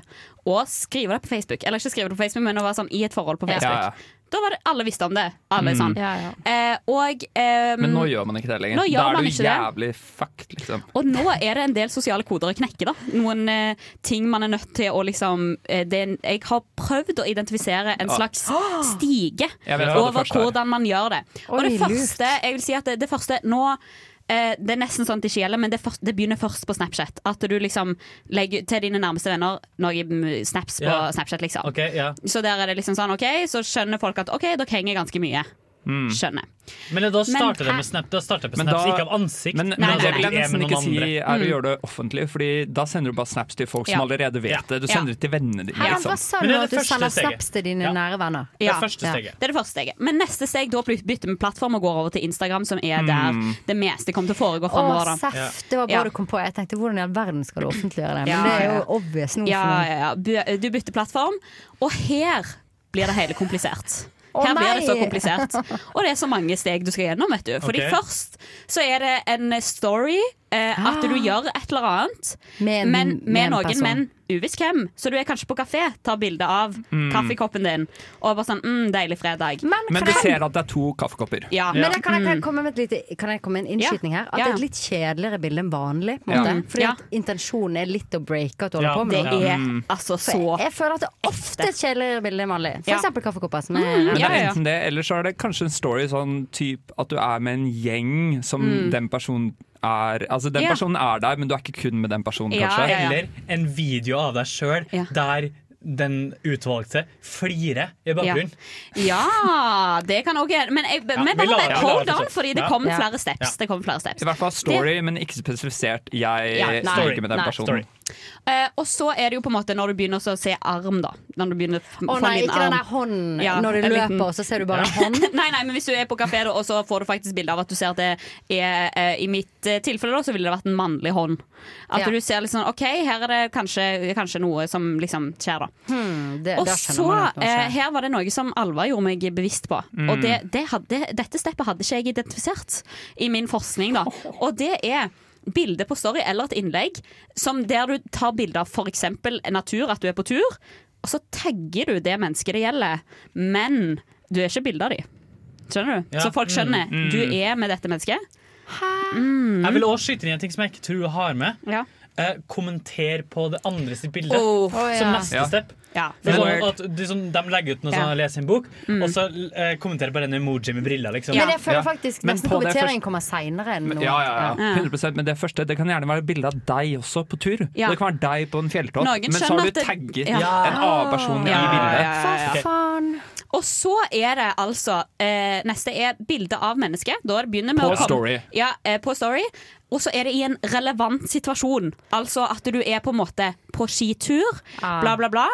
S10: å skrive det på Facebook. Eller ikke skrive det på Facebook, men å være sånn i et forhold på
S3: Ja.
S10: Facebook.
S3: Ja, ja.
S10: Da var det alle visste om det. Alle er sånn.
S3: Mm.
S10: Eh, og ehm,
S3: Men nå gjør man ikke det lenger.
S10: Nå gjør
S3: da er
S10: man
S3: du
S10: ikke det.
S3: jævlig fucked, liksom.
S10: og nå er det en del sosiale koder å knekke. da Noen eh, ting man er nødt til å liksom eh, det er, en- Jeg har prøvd å identifisere en
S3: Ja.
S10: slags stige
S3: Ah. Jeg vet hva det
S10: over
S3: første er.
S10: hvordan man gjør det. Og
S8: Ah! Oi,
S10: det
S8: lurt.
S10: første jeg vil si at det, det første nå eh, det er nesten sånn at det ikke gjelder, men det, først, det begynner først på Snapchat. At du liksom legger til dine nærmeste venner noen snaps på
S9: Ja.
S10: Snapchat, liksom.
S9: Ok, ja.
S10: Så der er det liksom sånn, ok, så skjønner folk at ok, dere henger ganske mye.
S3: Mm.
S10: Skjønner.
S9: Men da starter det
S10: hæ?
S9: med snap, da starter det på
S3: Men
S9: snaps,
S3: da-
S9: ikke av ansikt.
S3: Men,
S9: men
S3: men det
S9: at vi
S3: vil jeg
S9: er med
S3: nesten ikke
S9: noen
S3: si
S9: andre.
S3: er å gjøre det offentlig, Fordi da sender du bare snaps til folk som
S8: Ja.
S3: allerede vet det. Du
S10: Ja.
S3: sender det til vennene dine.
S8: Herman,
S3: Liksom.
S8: hva sa du? At du sender snaps til dine nære venner?
S10: Ja. Det er det første steget. Men neste steg, da blir- bytter vi plattform og går over til Instagram, som er der
S8: Mm.
S10: det meste kommer til å
S8: Å,
S10: foregå framover.
S8: seff! Det var bra du kom på. Jeg tenkte hvordan i all verden skal du offentliggjøre det? Men
S10: Ja,
S8: det er
S10: ja,
S8: jo
S10: ja.
S8: obvious nå. for
S10: Ja,
S8: meg.
S10: ja, ja. Bu- Du bytter plattform, og her blir det hele komplisert.
S8: Å,
S10: Her blir det så
S8: nei!
S10: komplisert. Og det er så mange steg du skal gjennom. vet du Fordi
S8: Ok.
S10: først så er det en story. Eh, at du gjør et eller
S8: Ah.
S10: annet
S8: Med en-
S10: men, med
S8: med en
S10: noen,
S8: person.
S10: men uvisst hvem. Så du er kanskje på kafé, tar bilde av
S3: Mm.
S10: kaffekoppen din. Og bare sånn mm, 'Deilig fredag'.
S3: Men du ser at det er to kaffekopper.
S10: Ja.
S8: Men da kan jeg, kan jeg komme med, et lite, kan jeg komme med en innskytning
S10: Mm. Ja.
S8: her? At
S10: Ja,
S8: det
S10: ja.
S8: er et litt kjedeligere bilde enn vanlig. På en måte.
S10: Mm.
S8: Fordi
S10: Ja.
S8: at intensjonen er litt å breake at du holder
S10: Ja.
S8: på med
S10: Det
S8: noe.
S10: er Mm. altså så
S8: Jeg føler at det er ofte et kjedeligere bilde enn vanlig. For
S10: Ja. Mm.
S8: eksempel kaffekopper. Som er
S3: Men det er enten det, eller så er det kanskje en story sånn typ at du er med en gjeng som
S8: Mm.
S3: den personen er Altså den
S9: Ja.
S3: personen er der, men du er ikke kun med den personen,
S9: Ja, ja,
S3: kanskje.
S9: ja. Eller en video av deg sjøl der den utvalgte flirer i bakgrunnen.
S10: Ja, det kan òg Men, jeg,
S9: Ja,
S10: men
S9: vi lar-
S10: bare
S9: ja, vi lar
S10: hold
S9: det
S10: on,
S9: sånn.
S10: fordi det
S9: Ja.
S10: kommer
S9: Ja.
S10: flere steps.
S9: Ja.
S10: Det kommer flere steps.
S3: I hvert fall story, men ikke spesifisert. Jeg
S10: Ja, nei.
S3: står ikke med den
S10: Nei.
S3: personen.
S10: Eh, og så er det jo på en måte når du begynner å se arm, da. Når du begynner å f-
S8: Å
S10: få en
S8: nei,
S10: liten
S8: ikke den der
S10: arm.
S8: hånden
S10: Ja,
S8: når du
S10: en
S8: løper,
S10: liten-
S8: og så ser du bare en hånd.
S10: nei, nei, men hvis du er på kafé, da, og så får du faktisk bilde av at du ser at det er eh, I mitt eh, tilfelle da, så ville det vært en mannlig hånd. At
S8: Ja.
S10: du ser litt sånn OK, her er det kanskje, kanskje noe som liksom skjer, da.
S8: Hmm, det,
S10: og
S8: da skjønner
S10: så,
S8: man at noe
S10: eh,
S8: skjer.
S10: her var det noe som Alva gjorde meg bevisst på.
S8: Mm.
S10: Og det, det hadde, dette steppet hadde ikke jeg identifisert i min forskning. Da. Og det er bilde på story eller et innlegg som der du tar bilde av f.eks. natur, at du er på tur, og så tagger du det mennesket det gjelder, men du er ikke bilde av dem. Skjønner du?
S9: Ja.
S10: Så folk skjønner.
S9: Mm, mm.
S10: Du er med dette mennesket.
S9: Jeg vil også skyte inn en ting som jeg ikke tror jeg har med.
S10: Ja.
S9: Eh, kommenter på det andre sitt bilde
S10: Oh. Å,
S9: som
S10: ja.
S9: neste
S10: Ja.
S9: step.
S10: Ja,
S9: Det er
S10: word.
S9: sånn at de, som, de legger ut noe
S10: Ja.
S9: sånn, leser en bok, og så eh, kommenterer bare en emoji med briller. Liksom.
S8: Men jeg føler
S9: Ja.
S8: faktisk nesten kommenteringen kommer seinere enn noe.
S3: Ja, ja, ja.
S8: Ja.
S3: 100 Men det første, det kan gjerne være bilde av deg også på tur.
S8: Ja.
S3: Det kan være deg på en fjelltopp,
S10: Noen
S3: men så
S10: skjønner
S3: har du
S10: at det-
S3: tagget
S10: Ja.
S3: en annen person
S10: Ja,
S3: i
S10: ja,
S3: bildet.
S10: ja, ja.
S3: Ok.
S8: faen?
S10: Og så er det altså eh, Neste er bilde av mennesket. Da begynner vi
S3: På
S10: å komme-
S3: story.
S10: Ja, eh, på story. Og så er det i en relevant situasjon. Altså at du er på en måte på skitur,
S8: Ah.
S10: bla, bla, bla.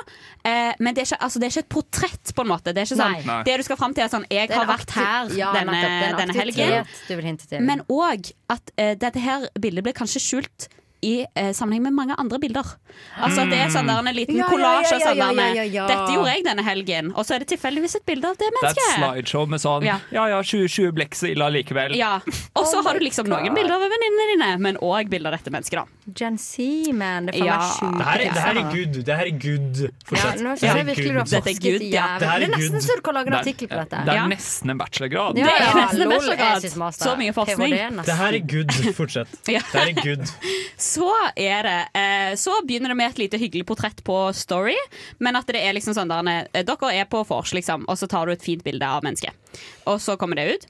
S10: Eh, men det er, ikke, altså, det er ikke et portrett, på en måte. Det er ikke sånn,
S8: Nei. Nei.
S10: det du skal fram til, er sånn Jeg
S8: Det er
S10: har
S8: en
S10: vært her
S8: aktiv- ja,
S10: denne,
S8: nettopp, det er en
S10: denne helgen.
S8: aktivitet du vil hinte til.
S10: Men òg at eh, dette her bildet blir kanskje skjult i eh, sammenheng med mange andre bilder. Altså at det er sånn der en liten
S8: Mm. Ja, ja,
S10: kollasj
S8: ja, ja,
S10: og sånn der,
S8: ja, ja, ja.
S10: Dette gjorde jeg denne helgen, og så er det tilfeldigvis et bilde av det
S3: Det er et
S10: mennesket.
S3: slideshow med sånn Ja
S10: Ja.
S3: ja, 2020 ble ikke så ille allikevel.
S10: Ja. Og så
S8: Oh
S10: har du
S8: my
S10: liksom
S8: God.
S10: noen bilder av venninnene dine, men òg bilder av dette mennesket, da.
S8: Gen Z, man. Det er faen
S10: Ja.
S8: meg sjuke
S9: Det her, er- det her er
S8: tekster.
S9: good. Det her er good.
S8: Ja,
S9: Fortsett.
S8: nå
S9: Det her
S8: synes jeg
S9: er
S8: virkelig du
S9: good.
S8: har forsket jævlig. Det, er nesten så du kan lage en
S3: Det er-
S8: artikkel på dette.
S3: Det er
S8: Ja.
S3: nesten en bachelorgrad.
S8: Ja,
S10: Det er nesten en
S8: lol,
S10: bachelorgrad.
S8: jeg synes master.
S10: Så mye forskning.
S8: PhD nesten.
S9: Det her er good. Fortsett. Det her er good.
S10: Så er det eh, Så begynner det med et lite hyggelig portrett på Story, men at det er liksom sånn der eh, Dere er på vors, liksom, og så tar du et fint bilde av mennesket. Og så kommer det ut.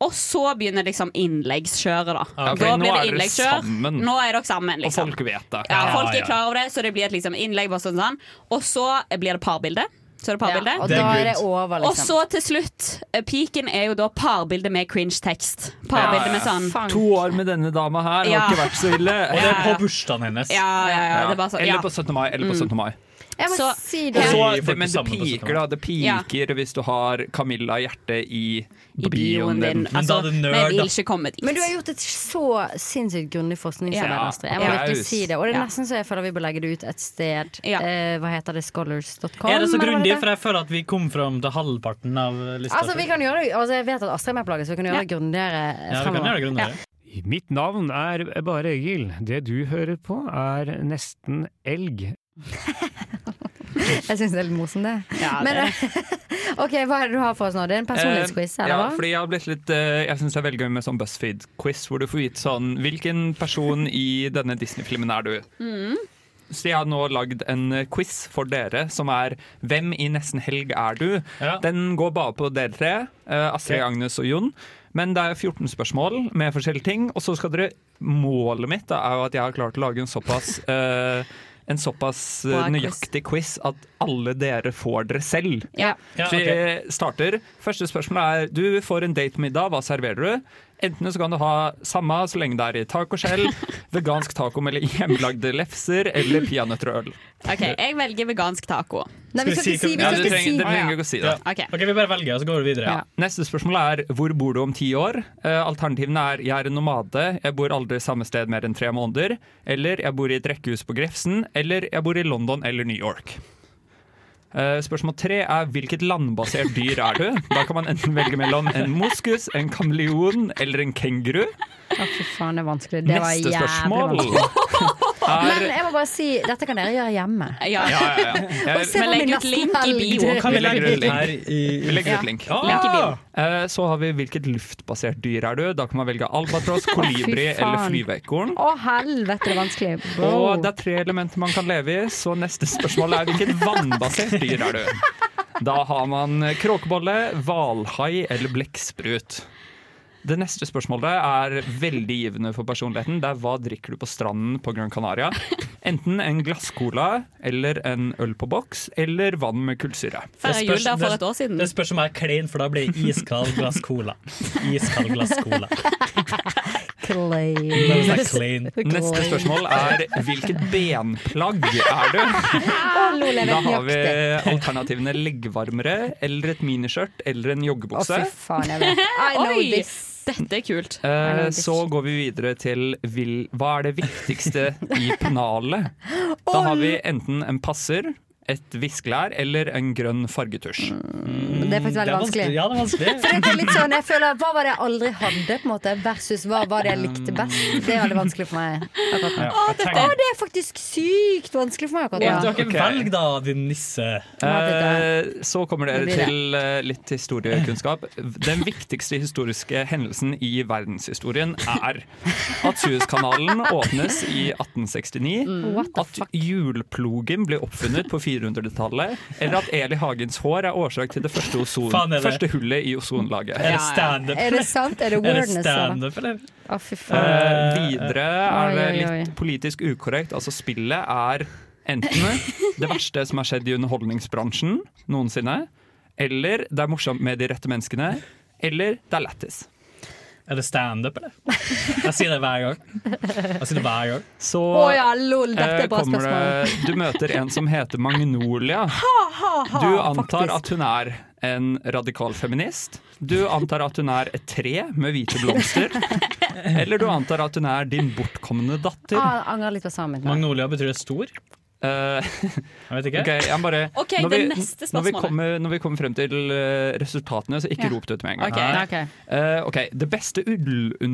S10: Og så begynner liksom innleggskjøret, da.
S3: Ja, ok,
S10: da
S3: nå
S10: blir
S3: er
S10: det
S3: dere
S10: innleggskjør.
S3: sammen.
S10: Nå er dere sammen,
S3: Og
S10: liksom.
S3: folk vet det.
S10: Ja, folk er klar over det, så det blir et liksom, innlegg. Bare sånn, sånn. Og så blir det parbilde. Så er det parbilde.
S8: og Det er da er good. det over, liksom.
S10: Og så til slutt, eh, peaken er jo da parbilde med cringe-tekst. Parbilde med sånn
S3: To år med denne dama her, det
S10: Ja.
S3: har ikke vært så ille.
S9: Og det er på bursdagen hennes.
S10: Ja, ja, ja, det er bare sånn, ja.
S3: Eller på 17. mai. Eller på
S10: Mm.
S3: 17. mai.
S8: Jeg må
S10: Så-
S8: si
S3: Og
S8: det.
S3: så,
S9: folk
S3: det, men
S9: på
S3: det
S9: samme person.
S3: piker, da. Det piker hvis du har Camilla Hjerte i bioen din.
S10: Men altså, da er det nerd, vi vil da. ikke komme dit.
S8: Men du har gjort et så sinnssykt grundig forskningsarbeid,
S3: Ja.
S8: Astrid. Jeg må
S3: Applaus.
S8: virkelig si det. Og det er
S10: Ja.
S8: nesten så jeg føler vi bør legge det ut et sted. Eh, hva heter det? Scholars.com?
S9: Er det så
S8: eller hva
S9: grundig?
S8: heter?
S9: For jeg føler at vi kom fram til halvparten av lista.
S8: Altså, vi kan gjøre det, altså, jeg vet at Astrid er med på laget, så vi kan gjøre det grundigere eh,
S9: Ja, vi kan
S8: fremover.
S9: gjøre det grundigere.
S21: Mitt navn er Bare Egil. Det du hører på er nesten elg.
S8: Jeg syns det er litt morsomt, det.
S21: Ja,
S8: Men,
S21: det-
S8: ok, Hva er det du har for oss nå? Det er en personlighetsquiz,
S3: Eh,
S8: eller
S3: ja,
S8: hva?
S3: fordi jeg har blitt litt eh, Jeg syns det er veldig gøy med sånn BuzzFeed-quiz, hvor du får vite sånn Hvilken person i denne Disney-filmen er du?
S8: Mm.
S3: Så jeg har nå lagd en eh, quiz for dere som er Hvem i nesten helg er du? Den går bare på dere tre. eh, Astrid,
S9: Ok.
S3: Agnes og Jon. Men det er 14 spørsmål med forskjellige ting. Og så skal dere Målet mitt da, er jo at jeg har klart å lage en såpass eh, en såpass eh,
S21: Bra quiz.
S3: nøyaktig quiz at alle dere får dere selv.
S21: Ja. Ja,
S3: Så vi starter. Første spørsmål er du får en datemiddag, hva serverer du? Enten så kan du ha samme så lenge det er i tacoskjell, vegansk taco med hjemmelagde lefser eller peanøtter og øl.
S10: OK, jeg velger vegansk taco.
S8: Nei, vi skal ikke si, vi
S3: Ja,
S8: skal
S3: du
S8: ikke si
S3: trenger, dere trenger ikke å si det.
S9: Ok, Vi bare velger, og så går vi videre.
S3: Neste spørsmål er hvor bor du om ti år? Eh, Alternativene er jeg er en nomade, jeg bor aldri samme sted mer enn tre måneder, eller jeg bor i et rekkehus på Grefsen, eller jeg bor i London eller New York. Eh, Spørsmål tre er hvilket landbasert dyr er du? Da kan man enten velge mellom en moskus, en kameleon eller en kenguru.
S8: Å, fy faen, det er vanskelig. Det var
S3: Neste
S8: jævlig
S3: spørsmål
S8: vanskelig. Men
S3: er
S8: jeg må bare si, dette kan dere gjøre hjemme.
S3: Ja, ja, ja. Jeg-
S8: Og se hva
S10: Men legg
S8: min
S10: ut link i
S8: nesten
S10: bio.
S8: helg-
S9: Kan vi legge
S3: legger
S9: ut
S3: ut
S9: her
S3: link.
S9: i
S3: Vi legger ut
S9: Ja.
S3: link.
S9: Ah! Link i
S3: Eh, Så har vi hvilket luftbasert dyr er du? Da kan man velge albatross, kolibri
S8: Å, fy faen.
S3: eller flyveekorn.
S8: Å, helvete, det er vanskelig. Bro.
S3: Og det er tre elementer man kan leve i, så neste spørsmål er hvilket vannbasert dyr er du? Da har man kråkebolle, hvalhai eller blekksprut. Det neste spørsmålet er veldig givende for personligheten. Det er hva drikker du på stranden på Gran Canaria? Enten en glasscola eller en øl på boks, eller vann med kullsyre.
S10: Færre jul da for et år
S8: Mm.
S10: siden.
S9: Det spørs om jeg er klein, for da blir det iskald glass cola. Iskald glass cola. Den er clean.
S3: Neste spørsmål er hvilket benplagg er du?
S8: Å, lol, jeg
S3: Da
S8: vet
S3: har vi
S8: nøyaktig.
S3: alternativene leggvarmere eller et miniskjørt eller en
S8: Å,
S3: joggebukse.
S8: fy faen, jeg vet. I know
S10: Oi,
S8: this.
S10: dette er kult.
S3: Eh, så går vi videre til vil, hva er det viktigste i pennalet? Da har vi enten en passer, et viskelær eller en grønn fargetusj.
S8: Det er faktisk veldig vanskelig. For det er litt sånn, jeg føler, Hva var det jeg aldri hadde, på en måte, versus hva var det jeg likte best? Det er veldig vanskelig for meg. akkurat nå.
S9: Ja, jeg
S8: Å, det,
S9: tenker-
S8: å, det er faktisk sykt vanskelig for meg
S9: Du
S8: akkurat nå.
S9: har ikke velg, da, din nisse.
S3: Eh, så kommer dere
S9: Det blir det.
S3: til eh, litt historiekunnskap. Den viktigste historiske hendelsen i verdenshistorien er at Suezkanalen åpnes i 1869,
S8: Mm. What the
S3: at hjulplogen ble oppfunnet på 400-tallet, eller at Eli Hagens hår er årsak til det første, ozon,
S9: Faen, er det-
S3: første hullet i ozonlaget.
S9: Er det standup?
S3: Eh,
S8: Er det sant? Er det awareness? eller?
S9: standup, eller?
S8: Å, fy faen.
S3: Eh, videre er det
S8: Oi, oi, oi.
S3: litt politisk ukorrekt. Altså spillet er enten det verste som har skjedd i underholdningsbransjen noensinne, Eller det er morsomt med de rette menneskene. Eller det er lættis.
S9: Er det standup, eller? Jeg sier det hver gang. Jeg sier det hver gang.
S3: Så
S9: Å ja, lol, dette er
S3: eh,
S9: bra
S3: kommer
S9: spørsmål.
S3: Det, du møter en som heter Magnolia. Du antar at hun er en radikal feminist. Du antar at hun er et tre med hvite blomster. Eller du antar at hun er din bortkomne datter.
S8: Ah, angrer litt på sammen.
S9: Magnolia betyr det stor?
S3: Eh, jeg
S9: vet ikke.
S3: jeg bare,
S8: Ok,
S3: når,
S8: det
S3: vi,
S8: neste
S3: når, vi
S8: spørsmålet.
S3: kommer, når vi kommer frem til eh, resultatene, så ikke
S10: Ja.
S3: rop det ut med en gang.
S10: Ok. Nei. Ok.
S3: Eh, ok, Det beste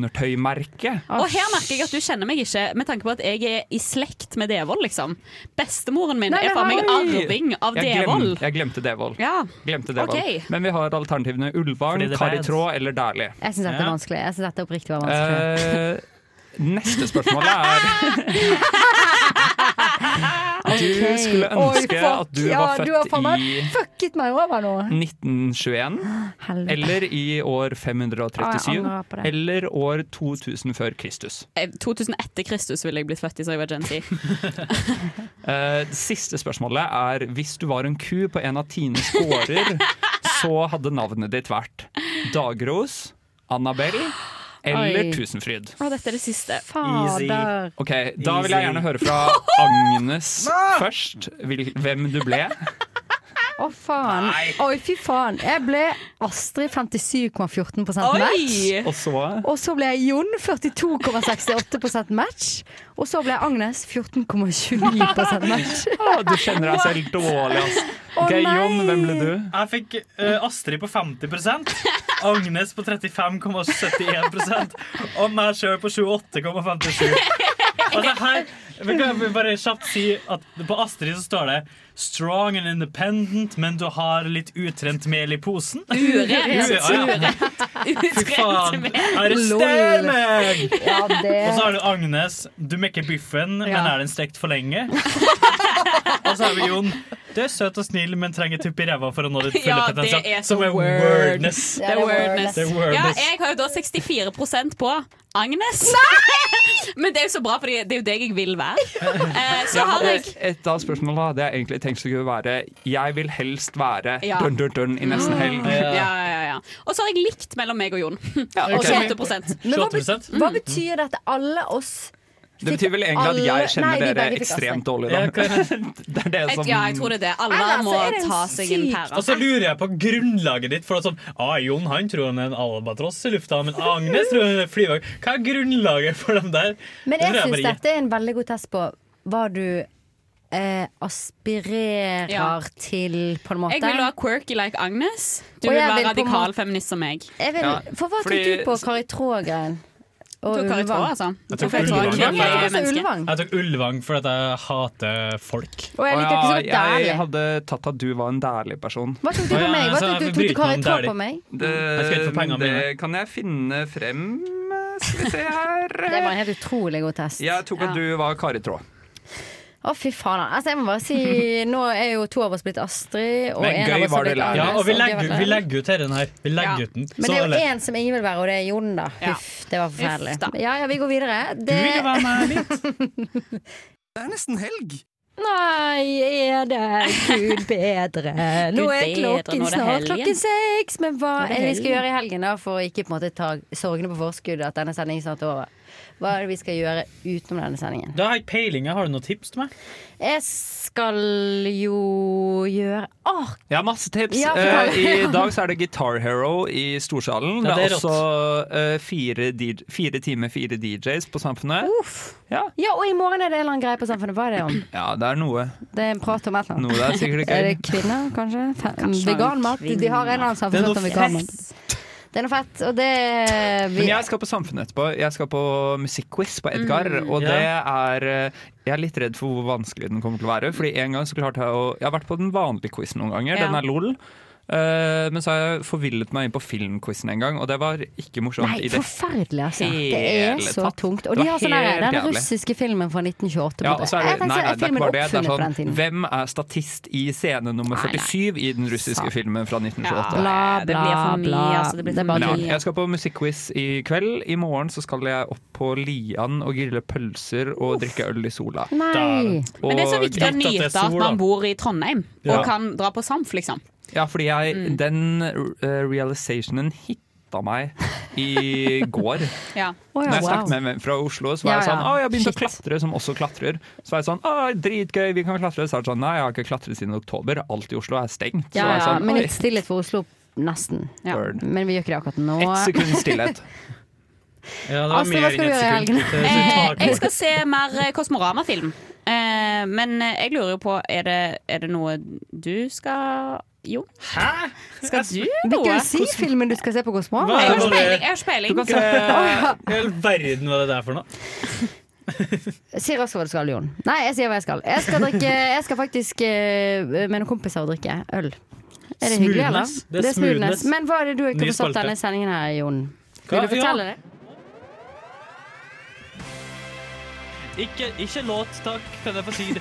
S3: ullundertøymerket.
S10: Og her merker jeg at du kjenner meg ikke, med tanke på at jeg er i slekt med Devold, liksom. Bestemoren min
S3: Nei,
S10: er
S3: men
S10: faen meg
S3: hei!
S10: arving av
S3: Jeg glem-
S10: Devold.
S3: Jeg glemte Devold.
S10: Ja.
S3: Glemte Devold.
S10: Ok.
S3: Men vi har alternativene
S9: Fordi det
S3: Ulvang,
S9: er bad.
S3: Karitråd eller Dæhlie.
S8: Jeg syns dette er vanskelig. Jeg synes dette oppriktig var vanskelig.
S3: Eh, neste spørsmål er Du skulle ønske at du var født i
S8: Fucket meg over nå!
S3: 1921,
S8: Helvete.
S3: eller i år 537,
S10: Ah, jeg angrer på det.
S3: eller år 2000 før Kristus.
S10: Eh, 2000 etter Kristus ville jeg blitt født i, så jeg var genty.
S3: Eh, det siste spørsmålet er hvis du var en ku på en av Tines gårder, så hadde navnet ditt vært Dagros, Annabel eller
S10: Oi.
S3: Tusenfryd.
S10: Å, dette er det siste.
S3: Ok, Da vil jeg
S10: Easy.
S3: gjerne høre fra Agnes først, hvil- hvem du ble.
S8: Å, faen. Oi, fy faen. Jeg ble Astrid 57,14 match.
S3: Og så
S8: Og så ble jeg Jon 42,68 match. Og så ble jeg Agnes 14,29 match.
S3: Å, Ah, Du kjenner deg selv dårlig, ass.
S8: Å,
S3: Ok,
S8: nei.
S3: Jon, hvem ble du?
S9: Jeg fikk eh, Astrid på 50 Agnes på 35,71 og meg sjøl på 28,57. Altså her vi kan vi bare kjapt si at På Astrid så står det 'strong and independent', men du har litt utrent mel i posen.
S11: Urent,
S9: Ja, ja. Fy faen! Arrester meg!
S11: Ja, det-
S9: Og så har du Agnes. Du mekker biffen, men er den stekt for lenge? og så har vi Jon. Du er søt og snill, men trenger tupp i ræva for å nå ditt fulle
S10: Ja, det
S9: potensial.
S10: er så
S9: som er
S10: word.
S9: wordness.
S10: Det er wordness.
S9: Det er
S10: Ja,
S9: wordness.
S10: jeg har jo da 64 på Agnes. Men det er jo så bra, for det er jo deg jeg vil være. Eh, Så
S3: Ja,
S10: har jeg
S3: eh, Et av spørsmålene hadde jeg egentlig tenkt skulle være Jeg vil helst være
S10: Ja.
S3: dønn, dønn, dønn i
S8: Mm.
S3: nesten helg.
S10: Ja, ja, ja, ja. Og så har jeg likt mellom meg og Jon. Og
S3: ok.
S10: 28
S8: Men hva, bet- hva betyr dette? Alle oss
S3: Det betyr vel egentlig at jeg
S8: Alle-
S3: kjenner
S8: Nei, vi
S3: dere
S8: begge fikk
S3: ekstremt
S8: Astrid.
S3: dårlig, da. Det er sånn- det som
S10: Ja, jeg tror det er det. Alle
S8: Eller, altså,
S10: må
S8: er det en
S10: ta seg en
S8: syk-
S10: pære.
S9: Og så lurer jeg på grunnlaget ditt. For det er sånn, ah, Jon han tror han er en albatross i lufta, men Agnes tror hun er flyvåg. Hva er grunnlaget for dem der?
S8: Men
S9: Det
S8: jeg
S9: tror
S8: syns
S9: bare-
S8: dette er en veldig god test på Hva du eh, aspirerer
S10: Ja.
S8: til, på en måte.
S10: Jeg vil være quirky like Agnes. Du
S8: Og
S10: vil
S8: jeg
S10: være
S8: vil på en måte-
S10: radikal feminist som meg.
S8: Jeg vil,
S10: Ja,
S8: For hva tok
S10: fordi-
S8: du på Kari Traa-greien? Og
S10: Tok Kari
S8: Ulvang?
S10: Traa, altså.
S9: Jeg
S10: Tok
S9: tok
S10: jeg Ulvang,
S9: Ulvang,
S10: ja, for jeg
S9: jeg
S10: er menneske.
S8: Ulvang.
S9: Jeg tok Ulvang fordi at jeg hater folk.
S8: Og jeg liker ikke så godt
S3: ja, jeg
S8: Dæhlie.
S3: hadde tatt at du var en dærlig person.
S8: Hva tok du på Å, ja, meg? Hva så tok du- jeg tok du bryter Kari meg om Traa dærlig. på meg?
S3: Det,
S9: Jeg skal ikke få pengene mine.
S3: det kan jeg finne frem. Skal vi se her
S8: Det var en helt utrolig god test.
S3: Jeg tok at
S8: Ja.
S3: du var Kari Traa.
S8: Å, fy faen. Altså, jeg må bare si Nå er jo to av oss blitt Astrid, og
S9: Men
S8: en
S9: gøy
S8: av oss
S9: var
S8: har
S9: det
S8: blitt
S9: lærer. Ja, og vi
S8: og gøy var
S9: legger,
S8: det
S9: vi
S8: lærer.
S9: legger ut her den her. Vi legger ut den.
S8: Men det er
S9: Så-
S8: jo én som ingen vil være, og det er Jon, da.
S9: Ja.
S8: Huff, det var forferdelig.
S7: Uff da.
S8: Ja, ja, vi går videre. Det...
S7: vil være
S9: med
S7: Det er nesten helg.
S8: Nei, er det Gud bedre? Nå
S7: Gud
S8: er
S7: bedre,
S8: klokken
S7: nå er det
S8: snart
S7: helgen.
S8: klokken seks, men hva
S7: Nå er det
S8: er det vi skal
S7: helgen.
S8: gjøre i helgen da for å ikke på en måte ta sorgene på forskudd at denne sendingen snart er over? Hva er det vi skal gjøre utenom denne sendingen?
S9: Da har jeg peiling. Har du noen tips til meg?
S8: Jeg skal jo gjøre Åh,
S3: Jeg har masse tips.
S8: Ja, fortell.
S3: Eh, I dag så er det Guitar Hero i Storsalen.
S9: Ja,
S3: det,
S9: det
S3: er
S9: er
S3: også eh, fire, DJ, fire timer fire DJs på Samfunnet.
S8: Uh.
S3: Ja.
S8: ja, og i morgen er det en eller annen greie på Samfunnet. Hva er det om?
S3: ja, det er noe.
S8: Det er en prat om et eller annet.
S3: Noe der er sikkert gøy.
S8: Er det kvinner, kanskje? Fe-
S3: Kanskje
S8: Veganmat. De har en eller annen
S3: Det er
S8: samfunnsrett
S3: noe
S8: om veganmat. Det er noe fett, og det
S3: Men jeg skal på Samfunnet etterpå. Jeg skal på Musikkquiz på Edgar.
S8: Mm.
S3: Og
S8: Ja.
S3: det er eh, Jeg er litt redd for hvor vanskelig den kommer til å være. Fordi en gang så klarte jeg å Jeg har vært på den vanlige quizen noen ganger.
S8: Ja.
S3: Den er lol. Eh, men så har jeg forvillet meg inn på filmquizen en gang, og det var ikke morsomt.
S8: Nei,
S3: i det
S8: forferdelig, altså. Det er
S3: hele
S8: så
S3: tatt.
S8: tungt. Og
S3: Det
S8: de
S3: var
S8: har sånn der,
S3: helt
S8: den
S3: jævlig.
S8: russiske filmen fra 1928.
S3: Ja,
S8: på-
S3: og så er
S8: Jeg
S3: det,
S8: tenker
S3: nei,
S8: at
S3: nei, det er ikke
S8: filmen
S3: bare det. Det er
S8: oppfunnet på den
S3: sånn,
S8: tiden.
S3: hvem er statist i scene nummer 47 i den russiske filmen fra 1928?
S8: Bla, bla,
S10: det blir for mye,
S8: bla.
S10: altså, det blir for
S8: er bare
S3: Men ja,
S8: tull.
S3: jeg skal på musikkquiz i kveld. I morgen så skal jeg opp på Lian og grille pølser og drikke øl i sola.
S10: Nei. Men det er så viktig å nyte at man bor i Trondheim, og
S3: Ja.
S10: kan dra på Samf, liksom.
S3: Ja, fordi jeg,
S8: Mm.
S3: den eh, realizationen hitta meg i går.
S10: Ja.
S3: Når jeg snakket med en venn fra Oslo, så var
S10: Ja,
S3: jeg sånn
S10: ja.
S3: Å, jeg begynte å klatre, som også klatrer. Så var jeg sånn Å, dritgøy, vi kan klatre. Så er det sånn Nei, jeg har ikke klatret siden oktober. Alt i Oslo er stengt. Så
S8: Ja,
S3: var jeg
S8: ja,
S3: sånn,
S8: men
S3: «Oi,
S8: litt stillhet for Oslo, nesten.
S3: Word.
S8: Men vi gjør ikke det akkurat nå.
S3: Ett sekund stillhet.
S9: Ja,
S8: var Astrid, hva mer skal enn du et gjøre i sekund. helgen?
S10: Eh, jeg skal se mer eh, Kosmorama-film. Eh, men eh, jeg lurer jo på Er det, er det noe du skal Jo. Hæ? Skal du noe?
S8: Hvilken si-filmen du skal se på Kosmorama?
S9: Hva er
S10: Jeg har
S9: det
S10: ikke
S9: med det?
S10: peiling. Jeg har ikke peiling.
S9: Du kan se
S3: Eh,
S9: Hva i all verden hva det der for noe?
S8: Si raskt hva du skal, Jon. Nei, jeg sier hva jeg skal. Jeg skal, drikke, jeg skal faktisk eh, med noen kompiser og drikke øl. Er det hyggelig, eller?
S10: Smoothness. Det er smoothness.
S8: Men hva er det du ikke
S10: Ny
S8: har forstått
S10: spalte.
S8: denne sendingen her, Jon?
S9: Hva?
S8: Vil du fortelle
S9: Ja.
S8: det?
S9: Ikke, ikke låt, takk, kan jeg få si det.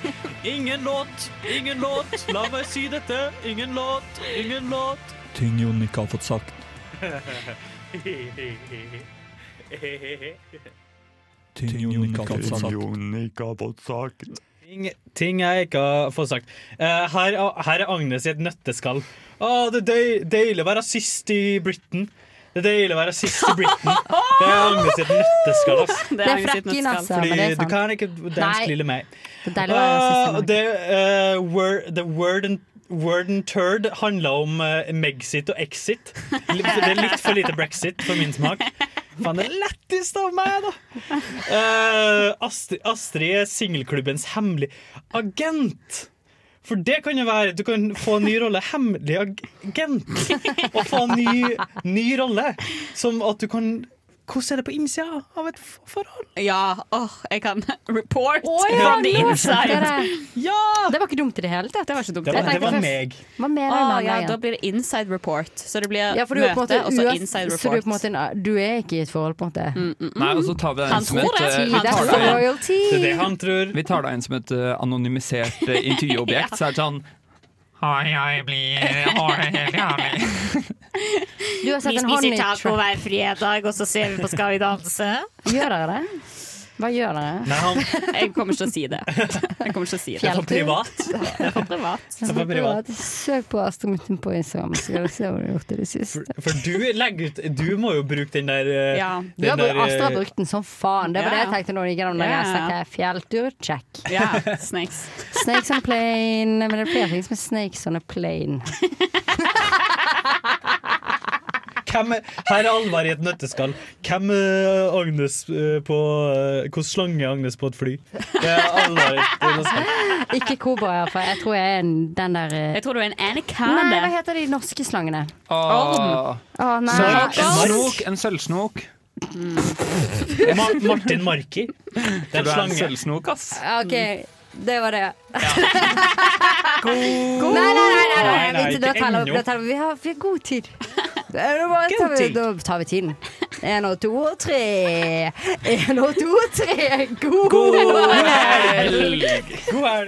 S9: Ingen låt, ingen låt, la meg si dette. Ingen låt, ingen låt.
S4: Ting Jon ikke har fått sagt.
S9: Ting
S4: Jon ikke har fått sagt.
S9: Ting, ting jeg ikke har fått sagt. Eh, her, her er Agnes i et nøtteskall. Å, det er døy, deilig å være sist i Britain. Det er deilig å være sist i Britain. Det er Agnes i et nøtteskall. ass.
S10: Det er Agnes i et Det er frekkin, nøtteskall. altså, men det
S9: Fordi
S10: er
S9: du
S10: sant.
S9: kan ikke danske
S10: Nei.
S9: lille meg.
S8: Det er deilig å være sist i
S9: Ah,
S8: Norge.
S9: det, eh, word, the word and Word and turd handla om eh, Megxit og Exit. Litt- Det er litt for lite brexit for min smak. Faen, det er lettest av meg, da! Eh, Astrid, Astrid er singelklubbens hemmelig agent. For det kan jo være Du kan få en ny rolle. Hemmelig agent. Og få en ny, ny rolle. Som at du kan Hvordan er det på innsida av et f- forhold?
S10: Ja, åh, jeg kan report
S8: Å ja,
S10: from the
S8: nå
S10: inside.
S8: skjønte jeg Det var ikke dumt i det hele tatt.
S10: Det var ikke dumt.
S9: Det var-
S8: Jeg tenkte
S9: det var
S8: først-
S9: meg.
S8: Hva mener du
S10: Åh,
S8: med
S10: ja,
S8: meg?
S10: da blir det inside report. Så det blir
S8: Ja, for du er på en
S10: møte,
S8: måte
S10: og så
S8: uansett- Så
S10: inside
S8: du er,
S10: report.
S8: på en måte en, du er ikke i et forhold, på en måte?
S3: Nei, og så tar vi deg
S8: Han
S3: en som
S8: tror
S3: et
S8: det.
S3: eh,
S8: Han
S3: vi tar
S8: tror
S3: deg-
S8: det. Royalty. Det er det han
S3: Vi tar deg inn som et eh, anonymisert eh, intervjuobjekt. Så er det sånn Hei, jeg blir jeg har det helt jævlig.
S8: Du har sett
S10: Vi
S8: en hånd i
S10: spiser taco hver fredag, og så ser vi på Skal vi danse.
S8: Gjør dere det? Hva gjør dere?
S9: Nei, han
S10: Jeg kommer ikke til å si det. Jeg kommer ikke til å si det.
S8: Det er for privat.
S10: Det er for privat.
S9: Det var privat.
S8: Søk på Astrid Mytten på Instagram, så skal du se hva du har gjort i det siste.
S9: For du legger ut Du må jo bruke den der eh,
S8: Ja.
S9: den
S8: Du har brukt,
S9: der, eh,
S8: Astrid har brukt den som faen. Det var
S10: Ja,
S8: det
S10: ja.
S8: jeg tenkte når jeg gikk gjennom den.
S10: Ja,
S8: Jeg
S10: ja.
S8: snakket fjelltur, check.
S10: Ja, snakes.
S8: Snakes on plane. Men det er flere ting som er snakes on a plane.
S9: Hvem, er- her er alvor i et nøtteskall. Hvem er Agnes eh, på eh, Hvordan slange er Agnes på et fly? Det er alvor i et nøtteskall.
S8: Ikke kobra, iallfall. Jeg tror jeg er en- den der eh,
S10: Jeg tror du er en
S8: Nei, hva
S10: anaconda.
S8: heter de norske slangene?
S3: Åh.
S8: Å, nei.
S3: Snok, en
S8: Snork.
S3: snok, en sølvsnok.
S9: Ma Martin Marki. Det er en
S3: Du er en
S9: slange.
S3: sølvsnok, ass.
S8: OK, det var det.
S3: God.
S8: Nei, nei, nei, nei,
S9: Nei,
S8: nei,
S9: nei,
S8: vent, da
S9: ikke
S8: teller vi,
S9: ennå.
S8: da teller vi. Vi har, vi har god tid. Da er det bare-
S9: God
S8: tar vi-
S9: tid.
S8: Da tar vi tiden. Én og to og tre. Én og to og tre. God,
S9: God
S8: helg!
S9: helg! God helg.